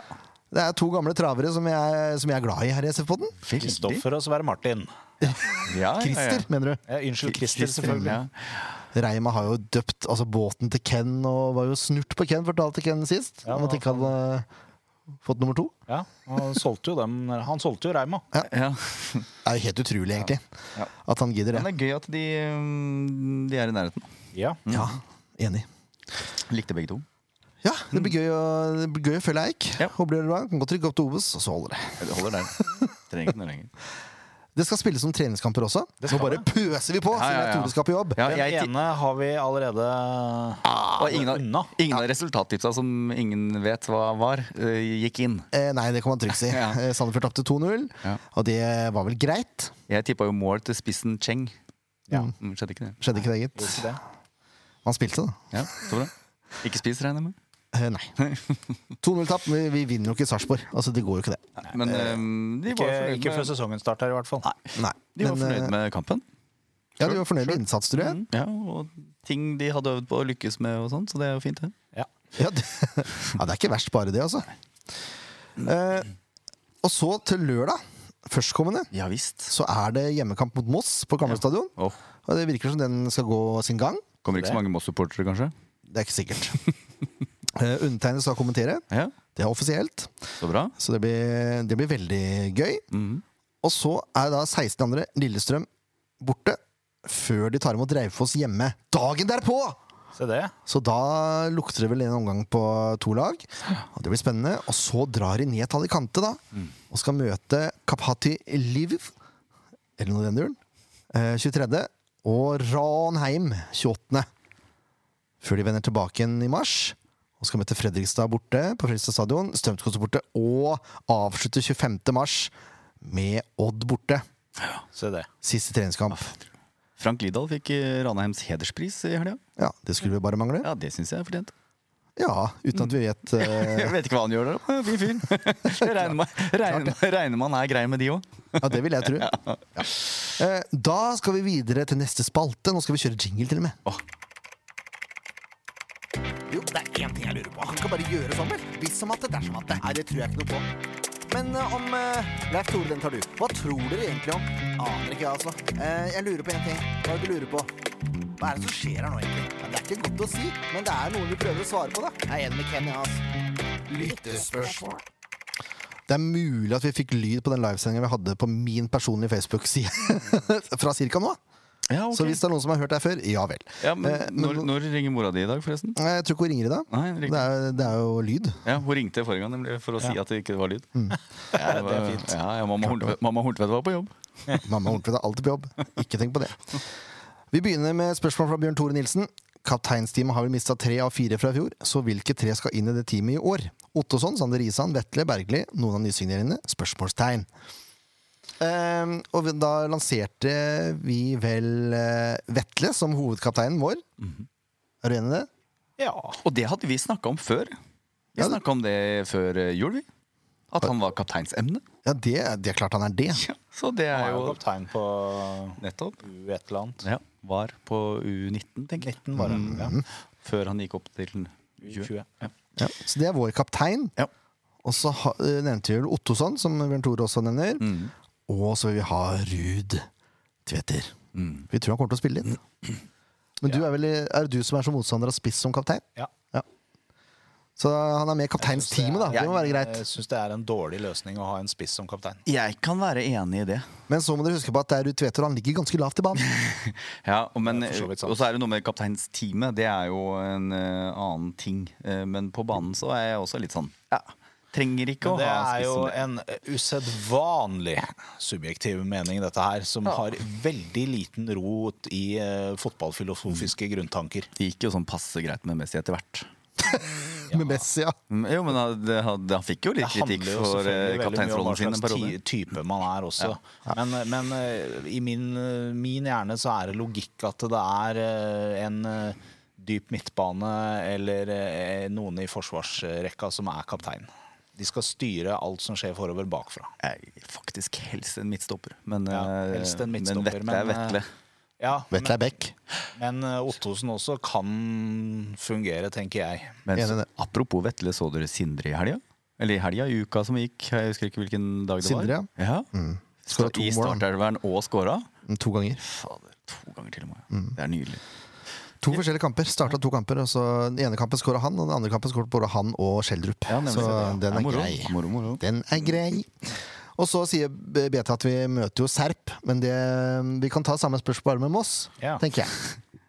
A: Det er to gamle travere som jeg, som jeg er glad i her i SF-podden.
C: Veldig.
B: Kristoffer og Sverre Martin.
C: Ja, ja, ja.
A: Christer, mener du?
B: Eh, unnskyld, Christer,
C: Christer,
B: selvfølgelig.
C: ja.
A: Reima har jo døpt altså båten til Ken, og var jo snurt på Ken, fortalte Ken sist.
B: Ja,
A: om at ikke han hadde fått nummer to.
B: Ja, han solgte jo dem Han solgte jo Reima.
C: Ja.
A: Det er jo helt utrolig, egentlig.
C: Ja.
A: At han gidder
C: Men
A: det.
C: det er gøy at de, øh, de er i nærheten.
B: Ja.
A: Ja, enig.
C: Likte begge to.
A: Ja, det blir gøy å, det blir gøy å følge Eik.
C: Ja.
A: Håper det blir bra. Kan godt rykke opp til Oves, og så holder det.
C: Det holder der. Trenger ikke noe lenger.
A: Det skal spilles som treningskamper også. Nå
B: Det skal
A: bare
B: det.
A: pøser vi på,
C: Ja, ja,
A: siden det er
C: ja.
A: Tore skal på jobb.
C: Ja,
B: Den
C: jeg, ti- Ah.
B: ene har vi allerede
C: og ingen,
B: unna.
C: av, ingen av resultattipsa som ingen vet hva var, øh, gikk inn.
A: Eh, nei, det kan man trygt si.
C: Ja.
A: Eh, Sandefjord tapte 2-0,
C: Ja.
A: og det var vel greit.
C: Jeg tippa jo mål til spissen Cheng.
A: Ja.
C: Mm, Skjedde ikke det?
A: Skjedde ikke det, gitt.
B: Ikke det.
A: Han spilte, da.
C: Ja, så bra. Ikke spis, regner jeg med.
A: Eh, nei. 2-0-tap. Vi, vi vinner jo ikke Sarpsborg. Altså, det går jo ikke, det.
C: Men øhm, de
B: Ikke,
C: var jo
B: ikke
C: fornøyd
B: før
C: med,
B: sesongen starter, i hvert fall.
A: Nei.
C: de var
A: Men, eh,
C: fornøyd med kampen.
A: Ja, de var fornøyd med innsats, tror jeg.
C: Mm, Ja, og ting de hadde øvd på å lykkes med, og sånt, så det er jo fint. det.
B: Ja.
A: Ja, det, ja, det er ikke verst, bare det, altså. Eh, og så til lørdag, førstkommende,
C: Ja visst.
A: så er det hjemmekamp mot Moss på Gamle stadion.
C: Åh,
A: Og det virker som den skal gå sin gang.
C: kommer ikke så mange Moss-supportere, kanskje?
A: Det er ikke sikkert. Eh, Undertegnede skal kommentere.
C: Ja,
A: Det er offisielt.
C: Så bra.
A: Så det blir, det blir veldig gøy.
C: Mhm.
A: Og så er da 16. andre Lillestrøm borte før de tar imot Raufoss hjemme dagen derpå!
B: Se det.
A: Så da lukter det vel en omgang på to lag. Og det blir spennende. Og så drar de ned til Alicante, da. Og skal møte Kaphati Lviv, eller noe i den duren, eh, 23. Og Ranheim 28. Før de vender tilbake igjen i mars. Og skal møte Fredrikstad borte på Fredrikstad stadion. Strømsgodset borte. Og avslutte 25. mars med Odd borte.
B: Se det.
A: Siste treningskamp.
C: Frank Lidahl fikk eh, Ranheims hederspris i helga.
A: Ja, Det skulle vel bare mangle.
C: Ja, det syns jeg er fortjent.
A: Ja, uten at vi vet eh,
C: Jeg vet ikke hva han gjør der, men fin fyr. Jeg regner med, regner, regner med han er grei med de òg.
A: Ja, det vil jeg tro. Ja. Eh, Da skal vi videre til neste spalte. Nå skal vi kjøre jingle, til og med.
C: Åh.
A: Jo, det er én ting jeg lurer på. Han kan bare gjøre sånn, vel? Hvis som at det, dersom at det. Nei, det tror jeg ikke noe på. Men eh, om uh, Leif Tore, den tar du. Hva tror dere egentlig om? Aner ikke, jeg, altså. Eh, jeg lurer på én ting. Hva er det du lurer på? Hva er det som skjer her nå, egentlig? Ja, det er ikke godt å si, men det er noen vi prøver å svare på, da. Jeg er enig med Ken, jeg, altså. Lyttespørsmål. Det er mulig at vi fikk lyd på den livesendingen vi hadde på min personlige Facebook-side fra cirka nå.
C: Ja,
A: Så hvis det er noen som har hørt det her før, ja vel.
C: ja, men,
A: Eh, men
C: når, når ringer mora di i dag, forresten?
A: Nei, Jeg tror ikke hun ringer i dag.
C: Nei, riktig.
A: Det er, det er jo lyd.
C: Ja, Hun ringte forrige gang nemlig for å si at det ikke var lyd. Ja, det var, ja, ja, mamma, Horntvedt, mamma Horntvedt var på jobb.
A: Mamma ordentlig er alltid på jobb. Ikke tenk på det. Vi begynner med spørsmål fra Bjørn Tore Nilsen. Kapteinsteamet har vel mista tre av fire fra i fjor, så hvilke tre skal inn i det teamet i år? Ottosson, Sander Risan, Vetle Bergli, noen av nysigneringene? Spørsmålstegn. Ehm, og vi- da lanserte vi vel eh, Vetle som hovedkapteinen vår. Er du enig i det?
B: Ja.
C: Og det hadde vi snakka om før. Vi
A: Ja, det-
C: snakka om det før eh, jul, vi. At han var kapteinsemne.
A: Ja, det, det er klart han er det.
C: Så det
B: Han
C: er
B: er jo
C: jo
B: kaptein på
C: nettopp.
B: U et eller annet.
C: Ja, var på U19, tenker jeg. Mm.
B: 19 var det. Ja.
C: Før han gikk opp til 20.
B: U20.
C: Ja.
A: Ja. Så det er vår kaptein.
C: Ja.
A: Og så ha, eh, nevnte vi vel Ottosson, som Bjørn Tore også nevner. Og så vil vi ha Ruud Tveter. Vi tror han kommer til å spille litt. Men du er vel i- er det du som er som motstander av spiss som kaptein?
B: Ja.
A: Ja. Så han er eh, med i kapteinsteamet, da. Det må være greit.
B: Jeg syns det er en dårlig løsning å ha en spiss som kaptein.
C: Jeg kan være enig i det.
A: Men så må dere huske på at det er Ruud Tveter, og han ligger ganske lavt i banen.
C: Ja, og men,
B: Det er for så vidt sant.
C: og så er det noe med kapteinsteamet. Det er jo en eh, annen ting. Eh, men på banen så er jeg også litt sånn ja, Trenger ikke å
B: Men det
C: ha
B: er jo
C: spissen.
B: en usedvanlig subjektiv mening, dette her, som har veldig liten rot i eh, fotballfilosofiske grunntanker.
C: Det gikk jo sånn passe greit med Messi etter hvert.
A: Med Messi, ja.
C: Mm, Jo, men han, det- han, han fikk jo litt
B: Det handler
C: kritikk
B: jo
C: for eh,
B: selvfølgelig veldig mye om hva
C: kapteinsrollen sin en
B: slags
C: periode.
B: ti- type man er også. Men, men eh, i min, eh, min hjerne så er det logikk at det er eh, en eh, dyp midtbane eller eh, noen i forsvarsrekka som er kaptein. De skal styre alt som skjer forover bakfra.
C: Jeg er faktisk helst en midtstopper, men,
B: Ja,
C: eh,
B: helst en
C: men
B: midtstopper.
C: Vetle er
B: men, eh,
C: Vetle.
B: Ja,
A: Vetle er back.
B: men, men eh, Ottosen også kan fungere, tenker jeg.
C: Men
A: Enig i
C: så,
A: det.
C: apropos Vetle, så dere Sindre i helga? Eller i helga, i uka som gikk. Jeg husker ikke hvilken dag det
A: Sindre, ja.
C: var. ja.
A: Skåra to
C: I
A: mål, da.
C: startelveren og scora.
A: To ganger.
C: Fader, to ganger til og med.
A: Mm.
C: Det er nydelig.
A: To forskjellige kamper. Starta to kamper. Og så den ene kampen skåra han, og den andre kampen skåra både han og Schjelderup.
C: Ja, nemlig.
A: så
C: Det er
A: den er
C: moro.
A: grei.
C: Moro, moro.
A: Den er grei. Og så sier Beta at vi møter jo Serp, men det, vi kan ta samme spørsmål bare med Moss,
B: Ja.
A: tenker jeg.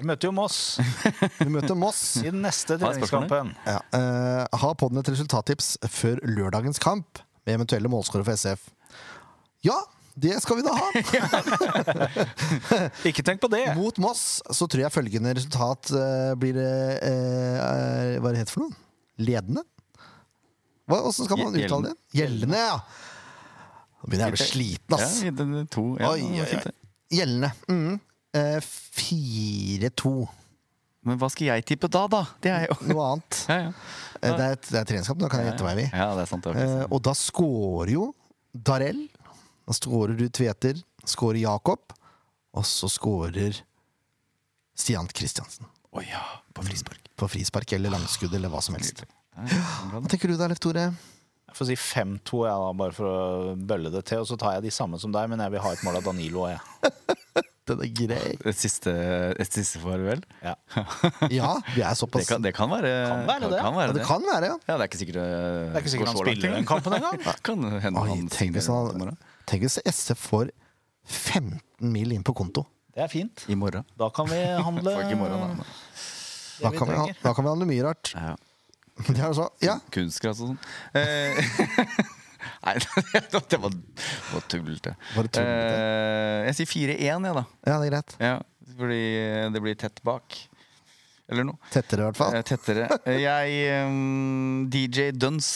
B: Vi møter jo Moss
A: Vi møter Moss.
B: i den neste
C: Har jeg spørsmål?
B: treningskampen.
A: Ja. eh, ha podden et resultattips før lørdagens kamp med eventuelle målskårere for SF. Ja, det skal vi da ha!
B: Ikke tenk på det!
A: Mot Moss så tror jeg følgende resultat eh, blir eh, eh, Hva er det heter for noe? Ledende? Hva, hvordan skal man
C: Gjel-
A: uttale det? Gjeldende, ja! Nå begynner jeg å bli sliten,
C: Ja,
A: ass.
C: i den- to, ja,
A: Oi,
C: det var
A: oi,
C: fint,
A: oi.
C: det.
A: Gjeldende. Mm. Eh, 4-2.
C: Men hva skal jeg tippe da, da? Det er jo
A: Noe annet.
C: ja, ja.
A: Eh, Det er, et- det er treningskamp, nå kan jeg gjette meg i.
C: ja, det er sant. Det var
A: Eh,
C: ikke sant.
A: og da scorer jo Darell. Da scorer du Tveter, scorer Jakob, og så scorer Stian Kristiansen.
C: Å ja, på frispark.
A: På frispark eller langskudd eller hva som helst.
C: Ja, ja, bra
A: Hva
C: da.
A: tenker du da, Leif Tore?
B: Jeg får si 5-2, jeg da, bare for å bølle det til. Og så tar jeg de samme som deg, men jeg vil ha et mål av Danilo. Jeg.
A: Den er grei.
C: Et siste, et siste farvel?
B: Ja.
A: Ja, vi er
C: Det
A: såpass
C: kan, det kan være
B: Kan være det.
C: Kan være
A: Ja,
C: det.
A: det kan være, ja.
C: Ja, det er ikke sikkert eh, Det
B: er ikke sikkert han spiller den kampen engang.
C: Kan hende
A: Oi,
C: han
A: tenk sånn. hvis,
C: spiller i
A: han,
C: morgen.
A: tenk hvis SF får 15 mil inn på konto.
B: Det er fint.
C: I morgen.
B: Da kan vi handle
C: Fuck, i morgen da.
A: Da
B: vi
A: kan vi, ha-
B: trenger.
A: da kan vi handle mye rart.
C: Ja.
A: Det er altså, ja,
C: Kunstgras og sånn. Eh, Nei, det var, var tullete.
A: Var det tullete?
C: Eh, jeg sier 4-1, jeg, da.
A: ja, det er greit.
C: Ja, fordi det blir tett bak. Eller noe.
A: Tettere, i hvert fall.
C: Eh, tettere. Eh, Jeg ehm, DJ Duns.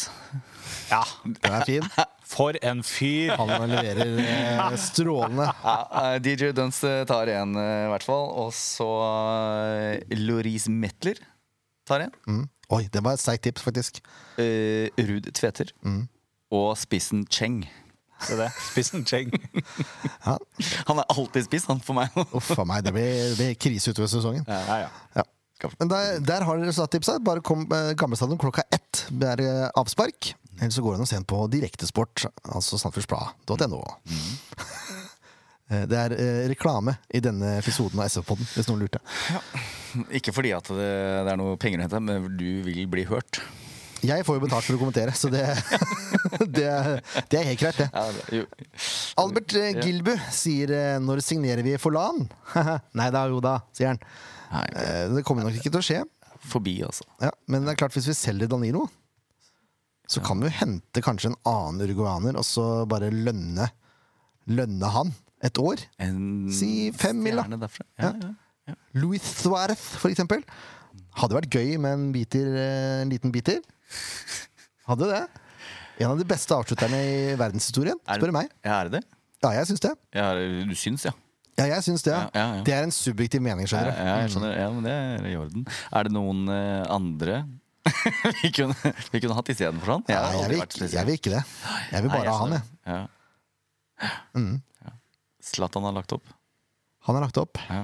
B: Ja,
A: Den er fin.
B: for en fyr!
A: Han leverer eh, strålende.
C: Ja, eh, DJ Duns eh, tar en, eh, i hvert fall. Og så eh, Loris Metler tar en.
A: Mm. Oi, det var et sterkt tips, faktisk.
C: Eh, Ruud Tveter.
A: Mm.
C: Og spissen Cheng.
B: Se det. Spissen Cheng.
A: Ja.
C: Han er alltid spiss, han for meg.
A: Uff a meg, det blir, det blir krise utover sesongen.
B: Ja, ja.
A: Ja. Men der, der har dere resultattipsa. Bare kom eh, Gamlestadion klokka ett. Det er eh, avspark. Eller så går det an å se den på Direktesport, altså sandfjordsblad.no. Eh, Det er eh, reklame i denne episoden av SV-podden, hvis noen lurte.
C: Ikke fordi at det, det er noe penger å hente, men du vil bli hørt.
A: Jeg får jo betalt for å kommentere, så det, det, er- det er helt greit, det.
C: Ja, jo.
A: Albert eh, Gilbu sier eh, 'når signerer vi for LAN'? Nei da, jo da, sier han.
C: Nei, det
A: Eh, Det kommer nok ikke til å skje.
C: er forbi, altså.
A: Ja, men det er klart hvis vi selger Danilo, så kan vi jo hente kanskje en annen uruguaner og så bare lønne, lønne han et år.
C: En
A: Si fem mil, da.
C: stjerne derfra. Ja, ja.
A: Louis Suárez, for eksempel. Hadde vært gøy med en, biter, eh, en liten biter. Hadde det. En av de beste avslutterne i verdenshistorien,
C: Er-
A: spør du meg.
C: Ja, er det det?
A: Ja, jeg syns det.
C: Ja, du syns, ja.
A: Ja, jeg syns det.
C: Ja, ja, ja.
A: Det er en subjektiv mening,
C: Ja,
A: skjønner du.
C: ja, jeg skjønner. Ja, men det er i orden. Er det noen eh, andre vi, kunne, vi kunne hatt istedenfor han?
A: Nei, jeg, vil ikke, jeg vil ikke det. Jeg vil bare ha han, jeg. Mm.
C: Ja. Ja. Zlatan har lagt opp.
A: Han er lagt opp.
C: Ja.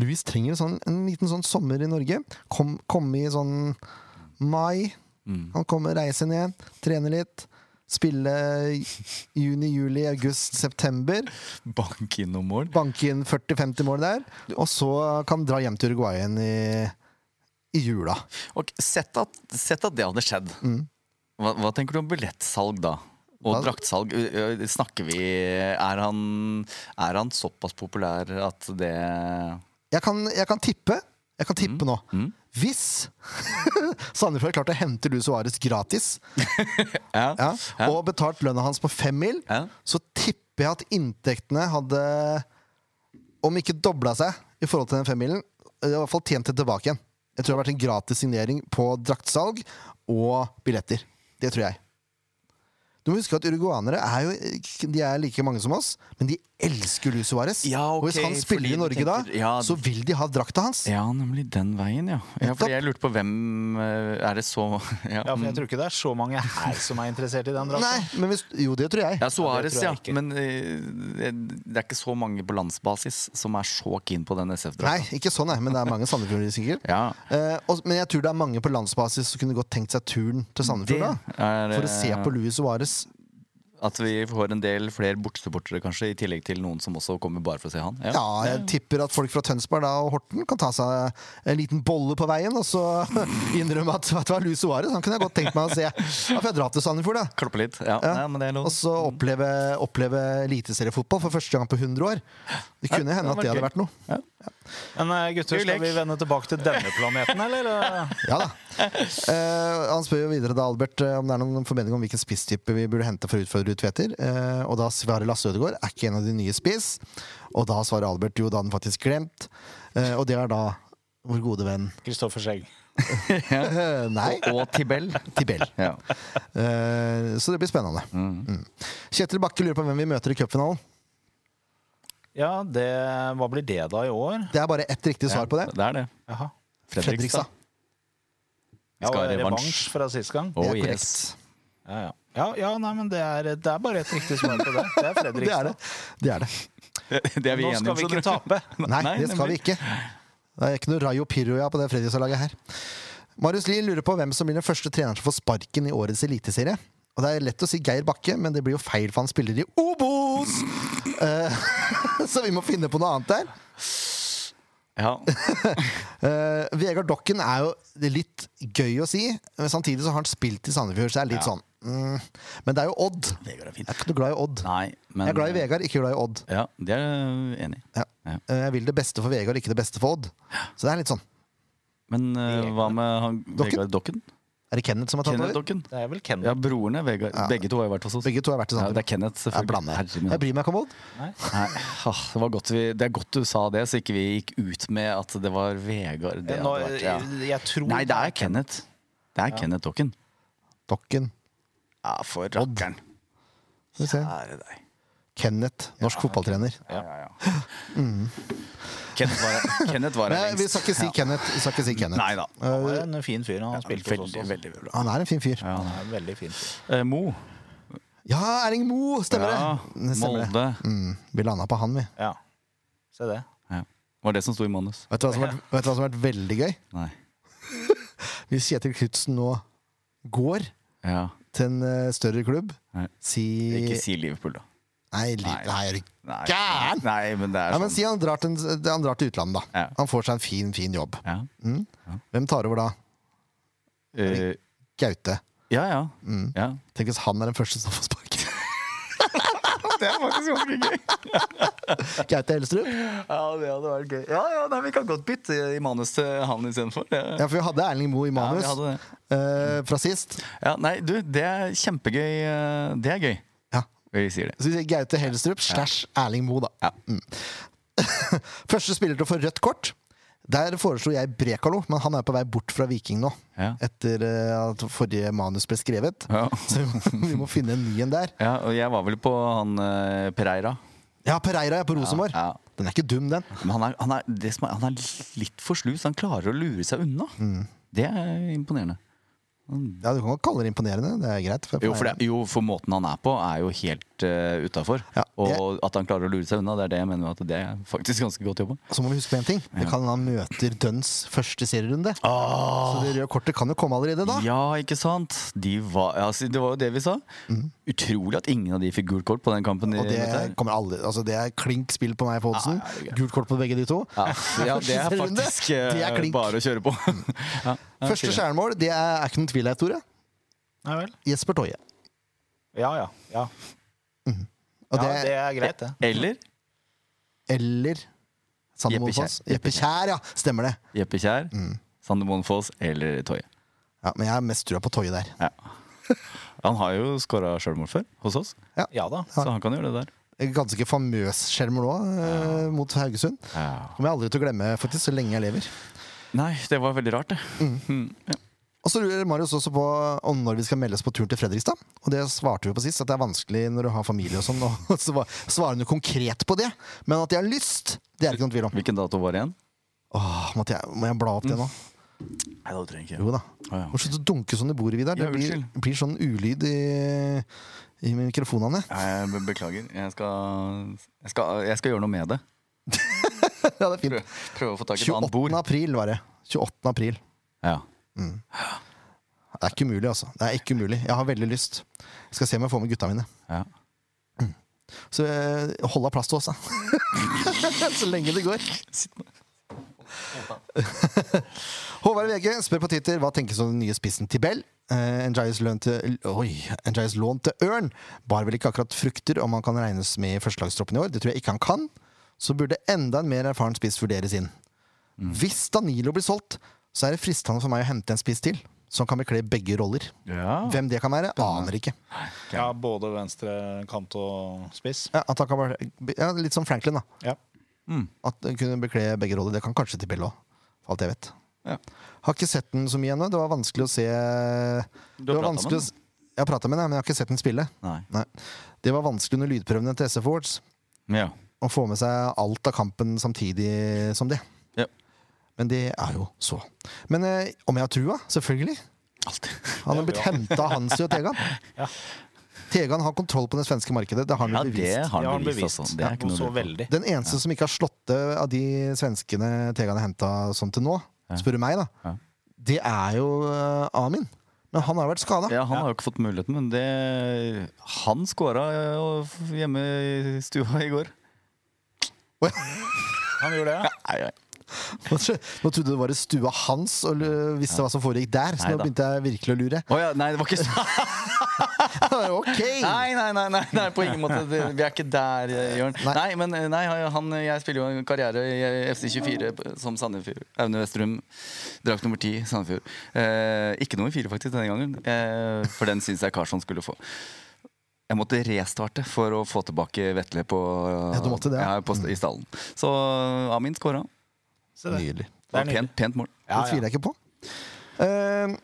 A: Louis trenger en sånn, en liten sånn sommer i Norge. Kom, komme i sånn mai.
C: Mm.
A: Han kommer, reiser ned, trener litt. Spille juni, juli, august, september.
C: Bank inn noen mål.
A: Banke inn 40-50 mål der. Og så kan dra hjem til Uruguay igjen i, i jula.
C: Og sett at, sett at det hadde skjedd. Hva, hva tenker du om billettsalg da? Og
A: Mm. Hva-
C: draktsalg. Ø- ø, Snakker vi er han, er han såpass populær at det
A: Jeg kan, jeg kan tippe. Jeg kan tippe nå.
C: mm.
A: Hvis Sandefjord klarte å hente Luis Suárez gratis,
C: Ja.
A: ja,
C: Ja.
A: og betalt lønna hans på fem mil,
C: Ja.
A: så tipper jeg at inntektene hadde Om ikke dobla seg i forhold til den femmilen, i hvert fall tjent det tilbake igjen. Jeg tror det har vært en gratis signering på draktsalg og billetter. Det tror jeg. Du må huske at uruguanere er jo De er like mange som oss, men de elsker Luis Suárez.
C: Ja,
A: og hvis
C: ok,
A: han
C: fordi
A: spiller
C: du
A: i Norge
C: tenker-
A: da,
C: ja.
A: så vil de ha drakta hans.
C: Ja, nemlig den veien, ja. ja fordi jeg lurte på hvem eh, Er det så Ja,
B: Ja, for jeg tror ikke det er så mange her som er interessert i den
A: Nei,
B: drakten.
A: men hvis, jo, det tror jeg.
C: ja Suárez,
B: tror
C: ja.
B: jeg ikke.
C: Men eh, det er ikke så mange på landsbasis som er så keen på den
A: Nei,
C: SF-drakta.
A: ikke sånn, nei, men det er mange Sandefjorder sikkert.
C: Ja.
A: Eh, og, men jeg tror det er mange på landsbasis som kunne godt tenkt seg turen til Sandefjord.
C: Det
A: da
C: er,
A: For å se
C: eh,
A: på Luis Suárez.
C: At vi får en del flere bortesupportere, kanskje, i tillegg til noen som også kommer bare for å se han.
A: Ja, jeg tipper at folk fra Tønsberg da, og Horten kan ta seg en liten bolle på veien og så innrømme at vet du hva, Luis Suárez han kunne jeg godt tenkt meg å se. Da får jeg dra til Sandefjord, da.
C: Klappe litt. Ja, Nei, men det er lov.
A: Og så oppleve, oppleve eliteseriefotball for første gang på 100 år. Det kunne
C: Ja,
A: hende
C: det
A: at det
C: var
A: hadde
C: gøy.
A: vært noe.
B: Men eh, gutter, skal vi vende tilbake til denne planeten, eller?
A: Ja da. Eh, han spør jo videre da, Albert, eh, om det er noen formening om hvilken spisstype vi burde hente for å utfordre Tveter. Eh, og da svarer Lasse Ødegaard er ikke en av de nye spiss. Og da svarer Albert jo, da hadde han faktisk glemt. Eh, og det er da vår gode venn
B: Kristoffer Schegg.
A: Eh, Nei,
C: Og Tibel.
A: Tibel.
C: Ja.
A: Eh, så det blir spennende. Mm. Kjetil Bakke lurer på hvem vi møter i cupfinalen.
B: Ja, det, hva blir det da i år?
A: Det er bare ett riktig svar på det.
C: Det er det.
B: Jaha.
A: Fredrikstad.
B: Ja,
C: Skal
B: og
C: ha revansj.
B: revansj fra sist gang.
A: Det
C: Oh,
A: er korrekt.
C: yes.
B: Ja, ja. ja, ja nei, men det er, det er bare et riktig svar på det. Det er
A: Det er det.
B: Fredrikstad.
A: det er det.
C: Det er vi
B: Nå
C: enige
B: skal
C: om.
B: vi
C: så
B: ikke
C: tror jeg.
B: tape.
A: Nei,
C: Nei,
A: det skal vi
C: nemlig.
A: ikke. Det er ikke noe Rayo Piroja på det Fredrikstad-laget her. Marius Lien lurer på hvem som blir den første treneren som får sparken i årets eliteserie. Og Det er lett å si Geir Bakke, men det blir jo feil, for han spiller i Obos! Eh, så vi må finne på noe annet der.
C: Ja.
A: Eh, Vegard Dokken er jo det er litt gøy å si, men samtidig så har han spilt i Sandefjord, så det er litt sånn mm. Men det er jo Odd. Jeg
C: Vegard er
A: er ikke noe glad i Odd.
C: Nei, men eh,
A: Jeg er glad i Vegard, ikke glad i Odd.
C: Ja, det er jeg enig i.
A: Ja.
C: Ja.
A: Eh, Jeg vil det beste for Vegard, ikke det beste for Odd. Så det er litt sånn.
C: Men eh, hva med han, Vegard Dokken?
A: Er det Kenneth som har tatt
C: Kenneth
A: over?
C: Dokken?
B: Det er vel Kenneth.
C: Ja, broren er Vegard. Begge to har jo vært hos oss.
A: Begge to har vært i
C: Ja, det
A: Sandefjord.
C: er Kenneth,
A: jeg blander.
C: selvfølgelig. Herre min.
A: Jeg bryr meg ikke om Odd.
C: Nei, åh, det, var godt vi, det er godt du sa det, så ikke vi gikk ut med at det var Vegard. Det
B: Nå,
C: hadde vært, ja.
B: jeg, jeg tror
C: Nei, det er Kenneth. Det er Kenneth Dokken.
A: Dokken.
C: Ja, for rakkeren.
A: Skal vi se.
C: Ære deg.
A: Kenneth, norsk fotballtrener.
C: Ja, ja, ja. Kenneth var, Kenneth var her
A: Nei, vi
C: lengst.
A: skal ikke si Kenneth. Vi skal ikke si Kenneth.
C: Nei da.
B: Han er en fin fyr. Han har spilt hos oss
C: Veldig,
B: også.
C: veldig bra.
A: Han er en fin fyr.
B: Han er en veldig fin fyr.
C: Eh, Mo.
A: Ja, Erling Moe! Stemmer
C: Ja,
A: det. det? Stemmer det.
C: Molde.
A: Mm, vi landa på han, vi.
B: Ja. Se det.
C: Ja. Var det som sto i manus?
A: Vet du hva som har vært, vet du hva som har vært veldig gøy?
C: Nei.
A: Hvis Kjetil Knutsen nå går
C: Ja.
A: til en eh, større klubb,
C: Nei.
A: si
C: Ikke si Liverpool, da.
A: Nei, li-
C: Nei.
A: nei, er du
C: Nei,
A: Gæren!
C: Nei, men det er
A: Ja, men
C: sånn.
A: si han drar til, en- han drar til utlandet, da.
C: Ja.
A: Han får seg en fin, fin jobb.
C: Ja.
A: Hvem tar over da?
C: Eh,
A: Gaute.
C: ja, ja. ja.
A: Tenk hvis han er den første som får sparken.
C: Det er faktisk ganske gøy.
A: Gaute Elstrud?
C: Ja, det hadde vært gøy. Ja, ja, nei, vi kan godt bytte i manus til han istedenfor. Ja.
A: Ja, for vi hadde Erling Moe i manus
C: Ja, vi hadde det.
A: eh, fra sist.
C: Ja, nei, du, det er kjempegøy. eh, Det er gøy.
A: Ja.
C: Vi sier det.
A: Så vi sier Gaute Helstrup slash Erling Moe, da.
C: Ja.
A: Mm. Første spiller til å få rødt kort. Der foreslo jeg Brekalo, men han er på vei bort fra Viking nå.
C: Ja.
A: Etter eh, at forrige manus ble skrevet.
C: Ja.
A: Så vi må, vi må finne en ny en der.
C: ja, og jeg var vel på han eh, Pereira.
A: Ja, Pereira er på Rosenborg.
C: Ja, ja.
A: Den er ikke dum, den.
C: Men han er, han, er, det som er, han er litt for slus. Han klarer å lure seg unna.
A: Mm.
C: Det er imponerende.
A: Ja, Du kan godt kalle det imponerende. Det er greit. for
C: Jo for,
A: Pereira.
C: det, jo, for måten han er på, er jo helt uh, utafor.
A: Ja,
C: Og at han klarer å lure seg unna, det er det jeg mener at det er faktisk ganske godt jobba.
A: Så må vi huske på en ting. Det kan hende han møter Duns første serierunde. Så det røde kortet kan jo komme allerede da.
C: Ja, ikke sant? De var, altså, det var jo det vi sa. Utrolig at ingen av de fikk gult kort på den kampen. de
A: Mm. Og det
C: møtte her.
A: kommer alle Altså det er klink spill på meg på oddsen.
C: Ja, ja, det er greit.
A: Gult kort på begge de to.
C: Ja, altså, ja, det er
A: Første runde,
C: faktisk eh,
A: det er klink. Mm.
C: bare å kjøre på. ja, jeg
A: Første
C: sier det.
A: stjernemål, det er, er ikke noen tvil her, Tore.
B: Nei vel.
A: Jesper Toje.
B: Ja, ja. Ja,
A: Og
B: ja
A: det,
B: det er greit, det.
C: Eller
A: Eller Sander
C: Jeppe Kjær.
A: Monfoss. Jeppe Kjær, ja. Stemmer det.
C: Jeppe Kjær,
A: Mm.
C: Sander Moen Foss eller Toje.
A: Ja, men jeg har mest trua på Toje der.
C: Ja. Han har jo skåra sjølmål før hos oss,
B: Ja da.
C: så han kan gjøre det der.
A: Ganske famøs skjermer nå, eh, mot Haugesund. Kommer jeg aldri til å glemme, faktisk, så lenge jeg lever.
C: Nei, det var veldig rart, det.
A: Og så lurer Marius også på om når vi skal melde oss på turen til Fredrikstad. Og det svarte vi på sist, at det er vanskelig når du har familie og sånn. Og så var- svarer hun konkret på det. Men at jeg har lyst, det er det ikke noen tvil om.
C: Hvilken dato var det igjen?
A: Åh, må, jeg, Ah, må jeg bla opp det nå?
C: Nei, det trenger jeg
A: Jo da.
C: Å, Mm. ja.
A: Må slutte å dunke sånn i bordet, Vidar. Det
C: Ja,
A: blir,
C: unnskyld.
A: blir sånn ulyd i, i mikrofonene.
C: Jeg be- beklager. Jeg skal, jeg, skal, jeg skal gjøre noe med det.
A: Ja, det er fint.
C: Prøve, prøve å få tak i et annet
A: 28.
C: bord.
A: april var det. 28. april.
C: Ja.
A: Det er ikke umulig, altså. Det er ikke umulig. Jeg har veldig lyst. Jeg skal se om jeg får med gutta mine.
C: Ja.
A: Så eh, hold av plass til oss, da. Så lenge det går. Håvard VG spør på Twitter hva tenkes om den nye spissen til Bell. Eh, Njais lønn til Oi! Njais lån til Ørn bar vel ikke akkurat frukter om han kan regnes med i førstelagstroppen i år. Det tror jeg ikke han kan. Så burde enda en mer erfaren spiss vurderes inn. Hvis Danilo blir solgt, så er det fristende for meg å hente en spiss til. Som kan bekle begge roller.
C: Ja.
A: Hvem det kan være, aner ikke.
B: Ja, både venstre kant og spiss.
A: Ja, at han kan bare, ja, litt som Franklin, da.
B: Ja.
A: At den kunne bekle begge roller. Det kan kanskje til Bell òg, for alt jeg vet.
C: Ja.
A: Har ikke sett den så mye ennå. Det var vanskelig å se
C: Du
A: det var
C: har pratet med
A: vanskelig å
C: den?
A: s- Jeg har prata med den, men jeg har ikke sett den spille.
C: Nei.
A: Det var vanskelig under lydprøvene til SF Awards
C: Ja.
A: å få med seg alt av kampen samtidig som det.
C: Ja.
A: Men det er jo så. Men eh, om jeg har trua? Selvfølgelig.
C: Alltid.
A: Han har blitt henta av Hansi og Tegan. Tegan har kontroll på det svenske markedet. Det har han jo
C: Ja, det
A: bevist.
C: har
B: Det
C: han bevist. Altså. Det er ikke
B: og så
C: noe lurt.
B: veldig.
A: Den eneste som ikke har slått det av de svenskene Tegan har henta sånn til nå, spør du meg, da,
C: Ja.
A: det er jo eh, Amin. Men han har vært skada.
C: Ja, han har jo ikke fått muligheten, men det Han skåra hjemme i stua i går.
B: Han gjorde det, ja.
C: Nei, nei.
A: Nå trodde det var i stua hans og lu- visste hva som foregikk der, så nå
C: Neida.
A: begynte jeg virkelig å lure.
C: Å ja, nei, det var ikke sånn.
A: ok!
C: Nei, nei, nei, nei, nei, på ingen måte. Det, vi er ikke der, eh, Jørn.
A: Nei.
C: Nei, men eh, nei, han, jeg spiller jo en karriere i eh, FC24 p- som Sandefjord. Aune Westrum, drakt nummer ti, Sandefjord. Eh, ikke nummer fire, faktisk, denne gangen. Eh, for den syns jeg Karlsson skulle få. Jeg måtte restarte for å få tilbake Vetle på,
A: Ja, du måtte det, ja.
C: ja, på st- i stallen. Så eh, Amin skåra.
B: Se det.
A: Nydelig.
B: Det er
C: Pent,
B: nydelig.
C: pent mål.
A: Det
B: Ja,
A: tviler
B: ja.
A: jeg ikke på. Eh,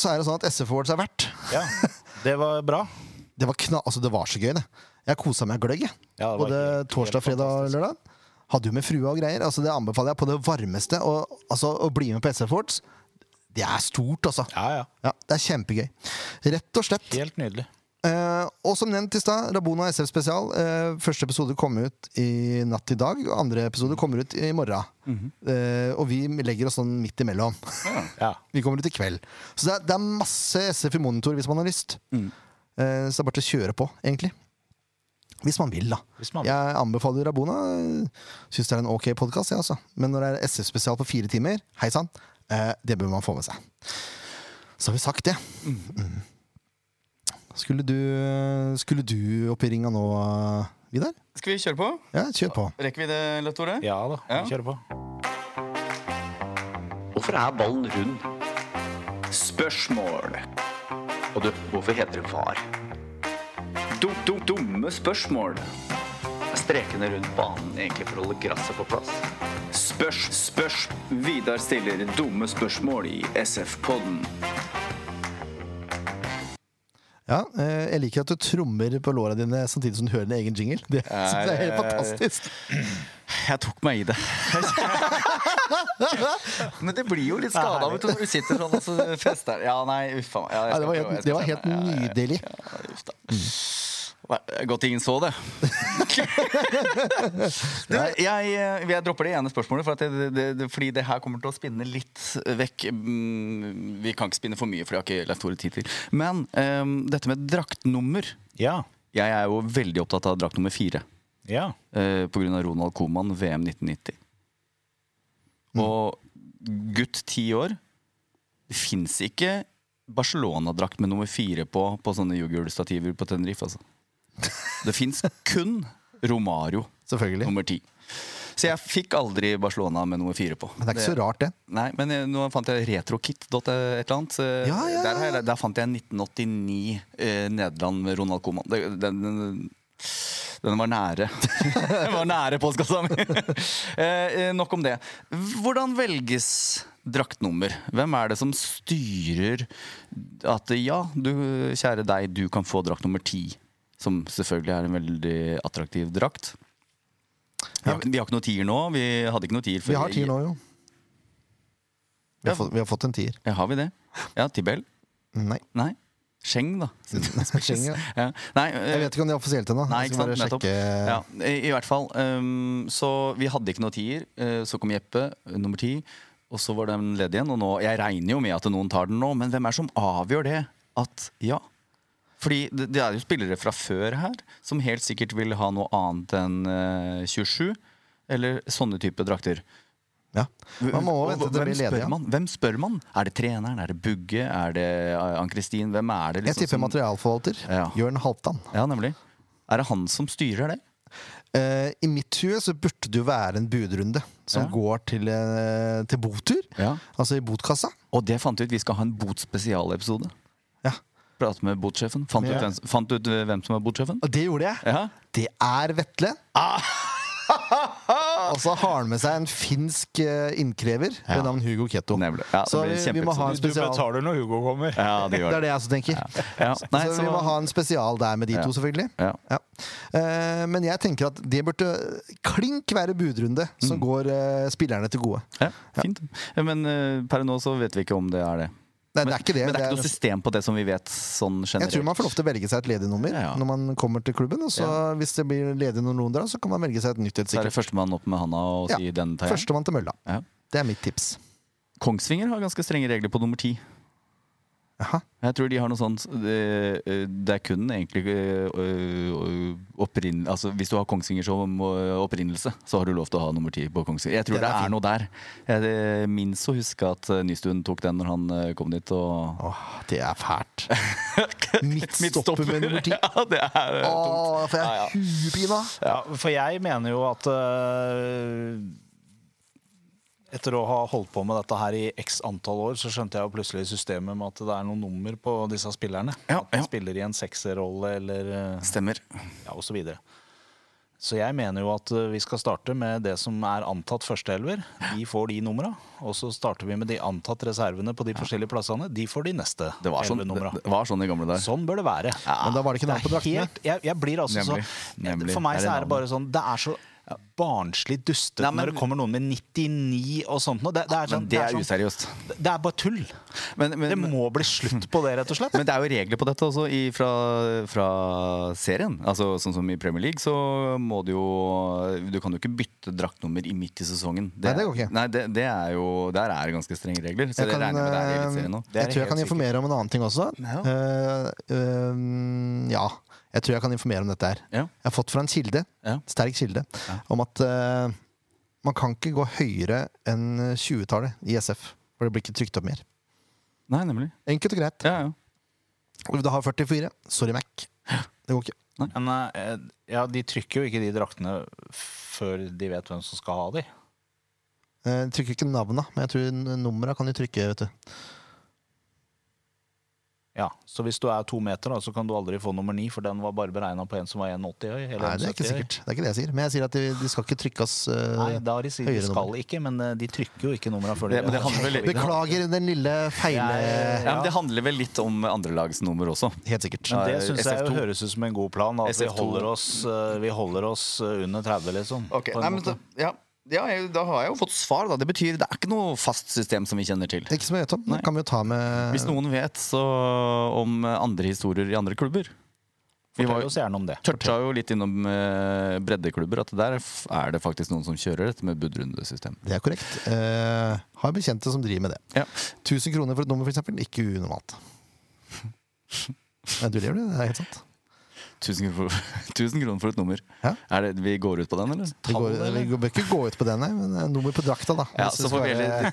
A: så er det sånn at SF Awards er verdt.
B: ja. Det var bra.
A: Det var, kna altså, det var så gøy, det. Jeg kosa meg gløgg, jeg.
B: Ja, det var
A: Både
B: helt- helt
A: torsdag, fredag og lørdag. Hadde jo med frua og greier. Altså, det anbefaler jeg på det varmeste. Og, altså, å bli med på SF Awards, det er stort, altså.
B: Ja, ja.
A: Ja, det er kjempegøy. Rett og slett.
B: Helt nydelig.
A: Eh, og som nevnt i stad, Rabona SF spesial. Eh, første episode kommer ut i natt til i dag, og andre episode kommer ut i morgen.
B: Mhm.
A: eh, og vi legger oss sånn midt imellom.
B: Ja.
A: vi kommer ut i kveld. Så det er, det er masse SF i monitor hvis man har lyst.
B: Mm.
A: Eh, så det er bare til å kjøre på, egentlig. Hvis man vil, da.
B: Hvis man vil.
A: Jeg anbefaler Rabona. Syns det er en ok podkast, jeg, altså. Men når det er SF spesial på fire timer, hei sann, eh, det bør man få med seg. Så har vi sagt det.
B: Mm.
A: Mm. Skulle du, skulle du opp i ringa nå, Vidar?
C: Skal vi kjøre på?
A: Ja, kjør på.
C: Rekker vi det, Lattore?
B: Ja da,
C: Ja.
B: vi kjører på.
F: Hvorfor er ballen rund? Spørsmål. Og du, hvorfor heter det var? Dum, dum, dumme spørsmål. Er strekene rundt banen egentlig for å holde gresset på plass?
C: Spørs, spørs. Vidar stiller dumme spørsmål i SF-podden.
A: Ja, eh, jeg liker at du trommer på låra dine samtidig som du hører din egen jingle. Det synes jeg er helt fantastisk.
C: Jeg tok meg i det. Men det blir jo litt skada vet du, når du sitter sånn og så fester. Ja, nei, uff a meg. Ja, jeg
A: Ja, det var
C: skal
A: helt,
C: prøve, jeg
A: det
C: skal
A: var helt
C: prøve. Ja, ja, ja.
A: nydelig.
C: Ja, uff da. Nei, Godt ingen så det. du, jeg, eh, jeg dropper det ene spørsmålet, for at det, det, det, fordi det her kommer til å spinne litt vekk. Mm, Vi kan ikke spinne for mye, for det har ikke Leif Tore tid til. Men ehm, dette med draktnummer
B: Ja.
C: Jeg er jo veldig opptatt av drakt nummer fire
B: Ja.
C: eh, pga. Ronald Koeman, VM 1990.
A: Mm.
C: Og gutt ti år Det fins ikke Barcelona-drakt med nummer fire på på sånne jugelstativer på Tenerife. Altså. Det fins kun Romario
A: Selvfølgelig.
C: nummer ti. Så jeg fikk aldri Barcelona med nummer fire på.
A: Men det er ikke så rart, det.
C: Nei, men eh, nå fant jeg retrokit.et eller annet. så eh,
A: Ja, ja, ja.
C: Der, har jeg- der fant jeg 1989 eh, Nederland med Ronald Koeman. Det- Den, den, den var nære. den var nære postkassa mi! eh, eh, nok om det. Hvordan velges draktnummer? Hvem er det som styrer at eh, ja, du, kjære deg, du kan få drakt nummer ti? Som selvfølgelig er en veldig attraktiv drakt. Vi har, vi har ikke noe tier nå. Vi hadde ikke noe tier før
A: Vi har ti nå, jo. Vi
C: Ja.
A: har, fått, vi har fått en tier.
C: Ja, har vi det? Ja, Tibel?
A: Nei.
C: Nei. Scheng, da.
A: Scheng, ja.
C: Ja. Nei, eh,
A: Jeg vet ikke om det er offisielt ennå.
C: Nei,
A: Jeg
C: ikke
A: skal
C: sant,
A: bare
C: nettopp.
A: sjekke-
C: Ja, i, I hvert fall. ehm, så vi hadde ikke noe tier. eh, så kom Jeppe, eh, nummer ti. Og så var den ledig igjen. Og nå, jeg regner jo med at noen tar den nå, men hvem er det som avgjør det? At ja. Fordi det, det er jo spillere fra før her som helt sikkert vil ha noe annet enn eh, 27. Eller sånne type drakter.
A: Ja. Man må
C: Og
A: vente til det
C: hvem
A: blir ledig.
C: spør
A: Ja.
C: man? Hvem spør man? Er det treneren? Er det Bugge? Er det eh, Ann-Kristin? Hvem er det? liksom
A: Jeg tipper
C: som-
A: materialforvalter.
C: Ja.
A: Jørn Halvdan.
C: Ja, nemlig. Er det han som styrer det?
A: Eh, I mitt hue så burde det jo være en budrunde som
C: Ja.
A: går til, eh, til botur.
C: Ja.
A: Altså i botkassa.
C: Og det fant vi ut. Vi skal ha en botspesialepisode.
A: Ja.
C: Prate med botsjefen. Fant,
A: Ja.
C: ut hvem, fant ut eh, hvem som er botsjefen?
A: Og det gjorde jeg.
C: Ja. Ah.
A: Det er Vetle. Og så har han med seg en finsk eh, innkrever ved navn Hugo Ketto.
C: Nemlig. Ja, det
A: så
C: blir
A: vi,
C: en
A: vi må ha en
B: Du
A: spesial.
B: betaler når Hugo kommer.
C: Ja, det
A: Det
C: gjør
A: er
C: det.
A: det jeg også tenker.
C: Ja. Nei,
A: så,
C: så-
A: vi må ha en spesial der med de
C: Ja.
A: to, selvfølgelig.
C: Ja.
A: Eh, men jeg tenker at det burde klink være budrunde som
C: Mm.
A: går eh, spillerne til gode.
C: Ja, fint. Ja, Men eh, per nå så vet vi ikke om det er det.
A: Nei, det er ikke det.
C: Men det
A: Det
C: er ikke
A: er-
C: noe system på det som vi vet sånn generelt.
A: Jeg tror man får lov til å velge seg et ledig nummer
C: Ja, ja.
A: når man kommer til klubben. Og så hvis det blir ledig noen runder, da, så kan man velge seg et nytt et
C: Så er det
A: sikkert.
C: førstemann opp med handa og si den tar jeg.
A: Førstemann til mølla.
C: Ja.
A: Det er mitt tips.
C: Kongsvinger har ganske strenge regler på nummer ti.
A: Jaha.
C: Jeg tror de har noe sånt Det, det er kun egentlig øh, opprinn, altså Hvis du har Kongsvinger som øh, opprinnelse, så har du lov til å ha nummer ti på Kongsvinger. Jeg tror
A: Den
C: det
A: er
C: er,
A: fin.
C: noe der. Jeg eh, minnes å huske at eh, Nystuen tok den når han eh, kom dit. Og
A: Åh, det er fælt. Midtstopper med nummer ti.
C: Ja, det er eh, tungt.
A: Åh, for jeg er huepina.
B: Ja, for jeg mener jo at øh, etter å ha holdt på med dette her i x antall år, så skjønte jeg jo plutselig i systemet med at det er noen nummer på disse spillerne.
C: Ja,
B: At de
C: ja.
B: spiller i en sekserrolle eller øh,
C: Stemmer.
B: ja, og Så, videre. så jeg mener jo at øh, vi skal starte med det som er antatt førsteelver. De får de numra. Og så starter vi med de antatt reservene på de forskjellige plassene. De får de neste
C: Det var sånn, det,
B: elvenumra.
C: det var sånn i gamle dager.
B: Sånn bør det være.
A: Men da var det ikke navn på
B: er
A: draktene.
B: helt- Jeg, jeg blir altså
C: Nemlig.
B: så
C: Nemlig.
B: For meg
C: Er det
B: så er det
C: navnet?
B: bare sånn Det er så barnslig dustete
C: Nei, men-
B: når det kommer noen med 99 og sånt noe. Det, det, er sånn,
C: Men det er
B: sånn-
C: useriøst.
B: det er bare tull.
C: Men, men,
B: Det må bli slutt på det, rett og slett.
C: Men det er jo regler på dette også i, fra, fra serien. Altså Sånn som i Premier League, så må du jo Du kan jo ikke bytte draktnummer i midt i sesongen.
A: Nei, det går ikke.
C: Nei, det, det er jo Der er det ganske strenge regler. Så
A: Jeg,
C: det
A: kan,
C: regner jeg med det er i
A: eh,
C: Eliteserien nå.
B: Det er
A: jeg tror jeg
B: helt
A: kan informere om en annen ting også.
C: Ja.
A: Eh, eh, ja, jeg tror jeg kan informere om dette her.
C: Ja.
A: Jeg har fått fra en kilde,
C: Ja.
A: sterk kilde, om at eh, man kan ikke gå høyere enn 20-tallet i SF. For det blir ikke trykt opp mer.
C: Nei, nemlig.
A: Enkelt og greit.
C: Ja, ja.
A: Vil du ha 44? Sorry, Mac. Det går ikke.
B: Men eh, ja, de trykker jo ikke de draktene før de vet hvem som skal ha de.
A: Eh, Jeg trykker ikke navna, men jeg tror n- numra kan du trykke, vet du.
B: Ja, Så hvis du er to meter, da, så kan du aldri få nummer ni, for den var bare beregna på en som var 1,80 høy. eller
A: Nei, det er ikke
B: 1,70 høy.
A: sikkert. Det er ikke det jeg sier. Men jeg sier at de, de skal ikke trykkes eh,
B: Nei, da har de sier de
A: høyere
B: skal
A: nummer.
B: ikke, men eh, de trykker jo ikke numra før
C: Det- men det handler vel-
A: Beklager den lille
B: Jeg-
A: feile
C: Ja, men Det handler vel litt om andrelagsnummer også.
A: Helt sikkert.
B: Men det
C: Nei,
B: syns jeg jo
C: SF2.
B: høres ut som en god plan. At vi
C: SF2.
B: holder oss, eh, vi holder oss eh, under 30, liksom.
C: Ok,
B: på en
C: nei, men
B: måte.
C: da, ja, ja, jeg- da har jeg jo fått svar. da Det betyr det er ikke noe fast system som vi kjenner til.
A: Det er ikke som jeg vet om. Det
C: Nei.
A: kan vi jo ta med
C: Hvis noen vet så om andre historier i andre klubber Vi
B: Fortell
C: var jo
B: oss gjerne om det.
C: toucha jo litt innom eh, breddeklubber, at der f- er det faktisk noen som kjører dette med budrundesystem.
A: Det er korrekt. Eh, har bekjente som driver med det.
C: Ja.
A: 1000 kroner for et nummer, for eksempel, ikke unormalt. Nei, du lever du, det er helt sant.
C: 1000 kroner, for- 1000 kroner for et nummer.
A: Ja.
C: Er det, vi går ut på den, eller?
A: Vi, går, vi bør ikke gå ut på den, nei, men eh, nummer på drakta, da.
C: Ja,
A: Hvis vi
C: så får
A: skal
C: vi
A: være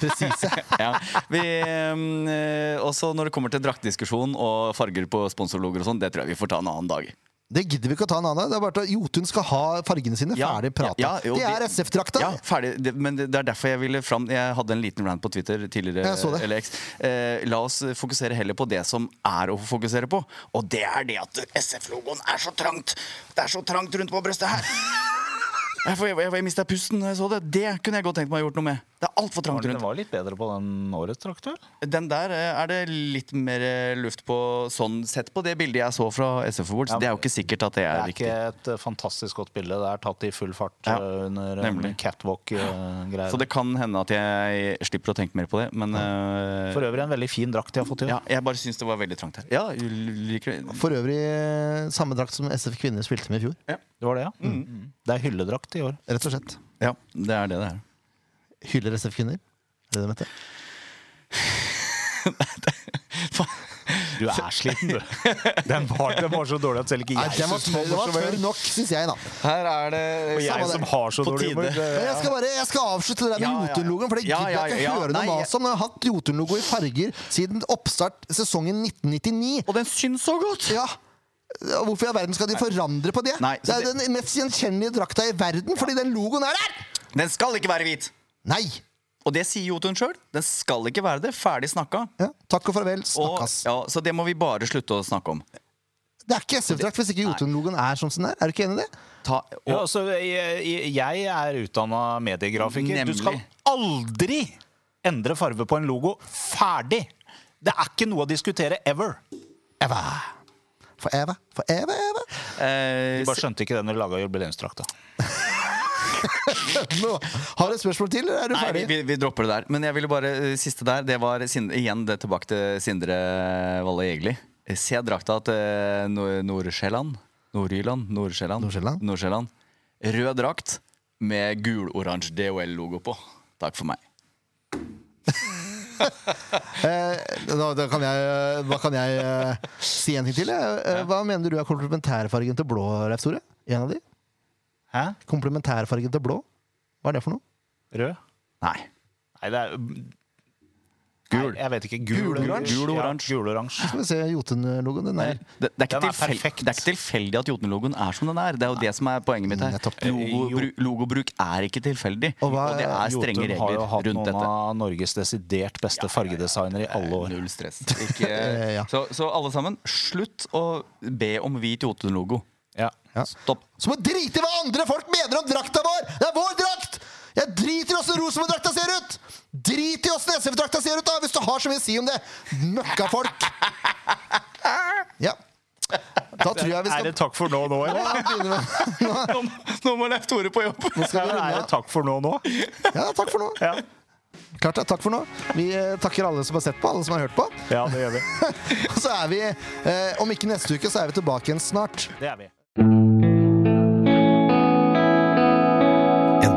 A: presise.
C: ja. vi, ehm, eh, også når det kommer til draktdiskusjon og farger på sponsorlogoer og sånn, det tror jeg vi får ta en annen dag.
A: Det gidder vi ikke å ta en annen. Det er bare at Jotun skal ha fargene sine
C: Ja,
A: ferdig prata.
C: ja, jo,
A: det er
C: de-
A: SF-drakta!
C: Ja, ferdig. Det, men det det er derfor jeg ville fram Jeg hadde en liten rant på Twitter tidligere.
A: Jeg så det.
C: Eller X. Eh, la oss fokusere heller på det som er å fokusere på, og det er det at SF-logoen er så trangt. Det er så trangt rundt på brystet her. Jeg, får- jeg, jeg mista pusten da jeg så det. Det kunne jeg godt tenkt meg å gjort noe med. Det er altfor trangt
B: Den
C: rundt.
B: var litt bedre på den årets drakt, vel?
C: Den der eh, er det litt mer eh, luft på sånn sett på det bildet jeg så fra SF Awards.
B: Ja, men-
C: det er jo ikke sikkert at
B: Det
C: det er,
B: er
C: riktig.
B: ikke et eh, fantastisk godt bilde. Det er tatt i full fart
C: Ja,
B: eh, under
C: nemlig.
B: catwalk-greier.
C: Så det kan hende at jeg slipper å tenke mer på det, men eh,
B: For øvrig en veldig fin drakt de har fått til.
C: ja, jeg bare syns det var veldig trangt her. Ja, du liker det.
A: For øvrig eh, samme drakt som SF Kvinner spilte med i fjor.
B: Det var det, ja? Mm. Det er hylledrakt i år.
A: Rett og slett.
C: Ja, det er det det er.
A: Hyller SF Kvinner. Er det det de heter?
B: Du er sliten, du. Den var, den var så dårlig at selv ikke
A: Nei,
B: jeg
A: den var,
B: synes den
A: tørr- den var
B: så
A: tørr
B: vel.
A: nok, syns jeg, da.
C: Her er det
B: Og jeg som har så
C: På
B: dårlig humor.
C: tide.
B: det-
A: Men jeg skal bare jeg skal avslutte det der med
C: Ja, ja, ja.
A: Jotun-logoen, for det
C: Ja,
A: gidder jeg
C: ja,
A: ikke
C: ja.
A: høre
C: Nei,
A: noe
C: jeg-
A: mas om. Jeg har hatt Jotun-logo i farger siden oppstart sesongen 1999.
C: Og den syns så godt!
A: Ja Og Hvorfor i all verden skal de forandre på det?
C: Nei,
A: det
C: så
A: er
C: det-
A: den mest gjenkjennelige drakta i verden, fordi den logoen er der!
C: Den skal ikke være hvit!
A: Nei!
C: Og det sier Jotun sjøl. Den skal ikke være det. Ferdig snakka.
A: Ja, takk og farvel.
C: Og,
A: Snakkes.
C: ja, så det må vi bare slutte å snakke om.
A: Det er ikke SF-drakt hvis ikke Jotun-logoen er sånn som den er. Er du ikke enig i det?
C: Ta, og,
B: Ja, altså, jeg, jeg er utdanna mediegrafiker.
C: Nemlig.
B: Du skal aldri endre farve på en logo. Ferdig! Det er ikke noe å diskutere ever.
A: Eva. For Eva. For Eva, Eva.
C: eh,
B: Vi bare skjønte ikke det når vi laga jubileumsdrakta.
A: Nå, har du et spørsmål til, eller er du
C: Nei, vi,
A: ferdig?
C: vi, vi dropper det der. Men jeg ville bare eh, siste der. Det var Sind- igjen det tilbake til Sindre Valle Jegli. Se drakta til eh, Nor- Nord-Sjælland. Nord-Jylland. Nord-Sjælland.
A: Nord-Sjælland.
C: Nord-Sjælland. Rød drakt med gul-oransje DOL-logo på. Takk for meg.
A: Eh, da, da kan jeg, da kan jeg eh, si en ting til. jeg. Eh, Hva mener du er komplementærfargen til blå, Leif Tore? En av de?
B: Hæ?
A: Komplementærfargen til blå? Hva er det for noe?
B: Rød?
C: Nei.
B: Nei, det er Gul. Nei, jeg vet ikke. Gul,
A: Gul, oransje.
C: Gul, oransje.
B: Ja, gul, oransje.
A: Skal vi se Jotun-logoen. Den er
C: Det, det, er ikke
B: Den er
C: tilfel-
B: perfekt.
C: det er ikke tilfeldig at Jotun-logoen er som den er. Det er jo det som er poenget mitt her.
A: Nettopp.
C: Logobru, logobruk er ikke tilfeldig,
A: Og
C: og,
A: hva-
C: det er strenge
B: Jotun har jo
C: regler
B: hatt
C: rundt
B: noen
C: dette.
B: av Norges desidert beste fargedesignere i alle år.
C: Eh, Null stress. Ikke,
A: Eh, ja.
C: så, så alle sammen, slutt å be om hvit Jotun-logo.
B: Ja.
C: Stopp.
A: Så må jeg drite i hva andre folk mener om drakta vår! Det er vår drakt! Jeg driter i åssen Rosenborg-drakta ser ut! Drit i åssen SF-drakta ser ut, da, hvis du har så mye å si om det! Møkkafolk! Ja. Da tror jeg vi
B: Er
A: skal
B: det takk for nå nå, eller?
A: Ja, begynne med-
C: Nå, må Leif Tore på jobb!
A: Nå skal vi
B: Er
A: runde
B: det
A: av.
B: takk for nå nå?
A: Ja, takk for nå.
B: Ja.
A: Klart det. Takk for nå. Vi eh, takker alle som har sett på, alle som har hørt på.
B: ja, det gjør vi.
A: Og så er vi, eh, om ikke neste uke, så er vi tilbake igjen snart.
B: Det er vi.
A: En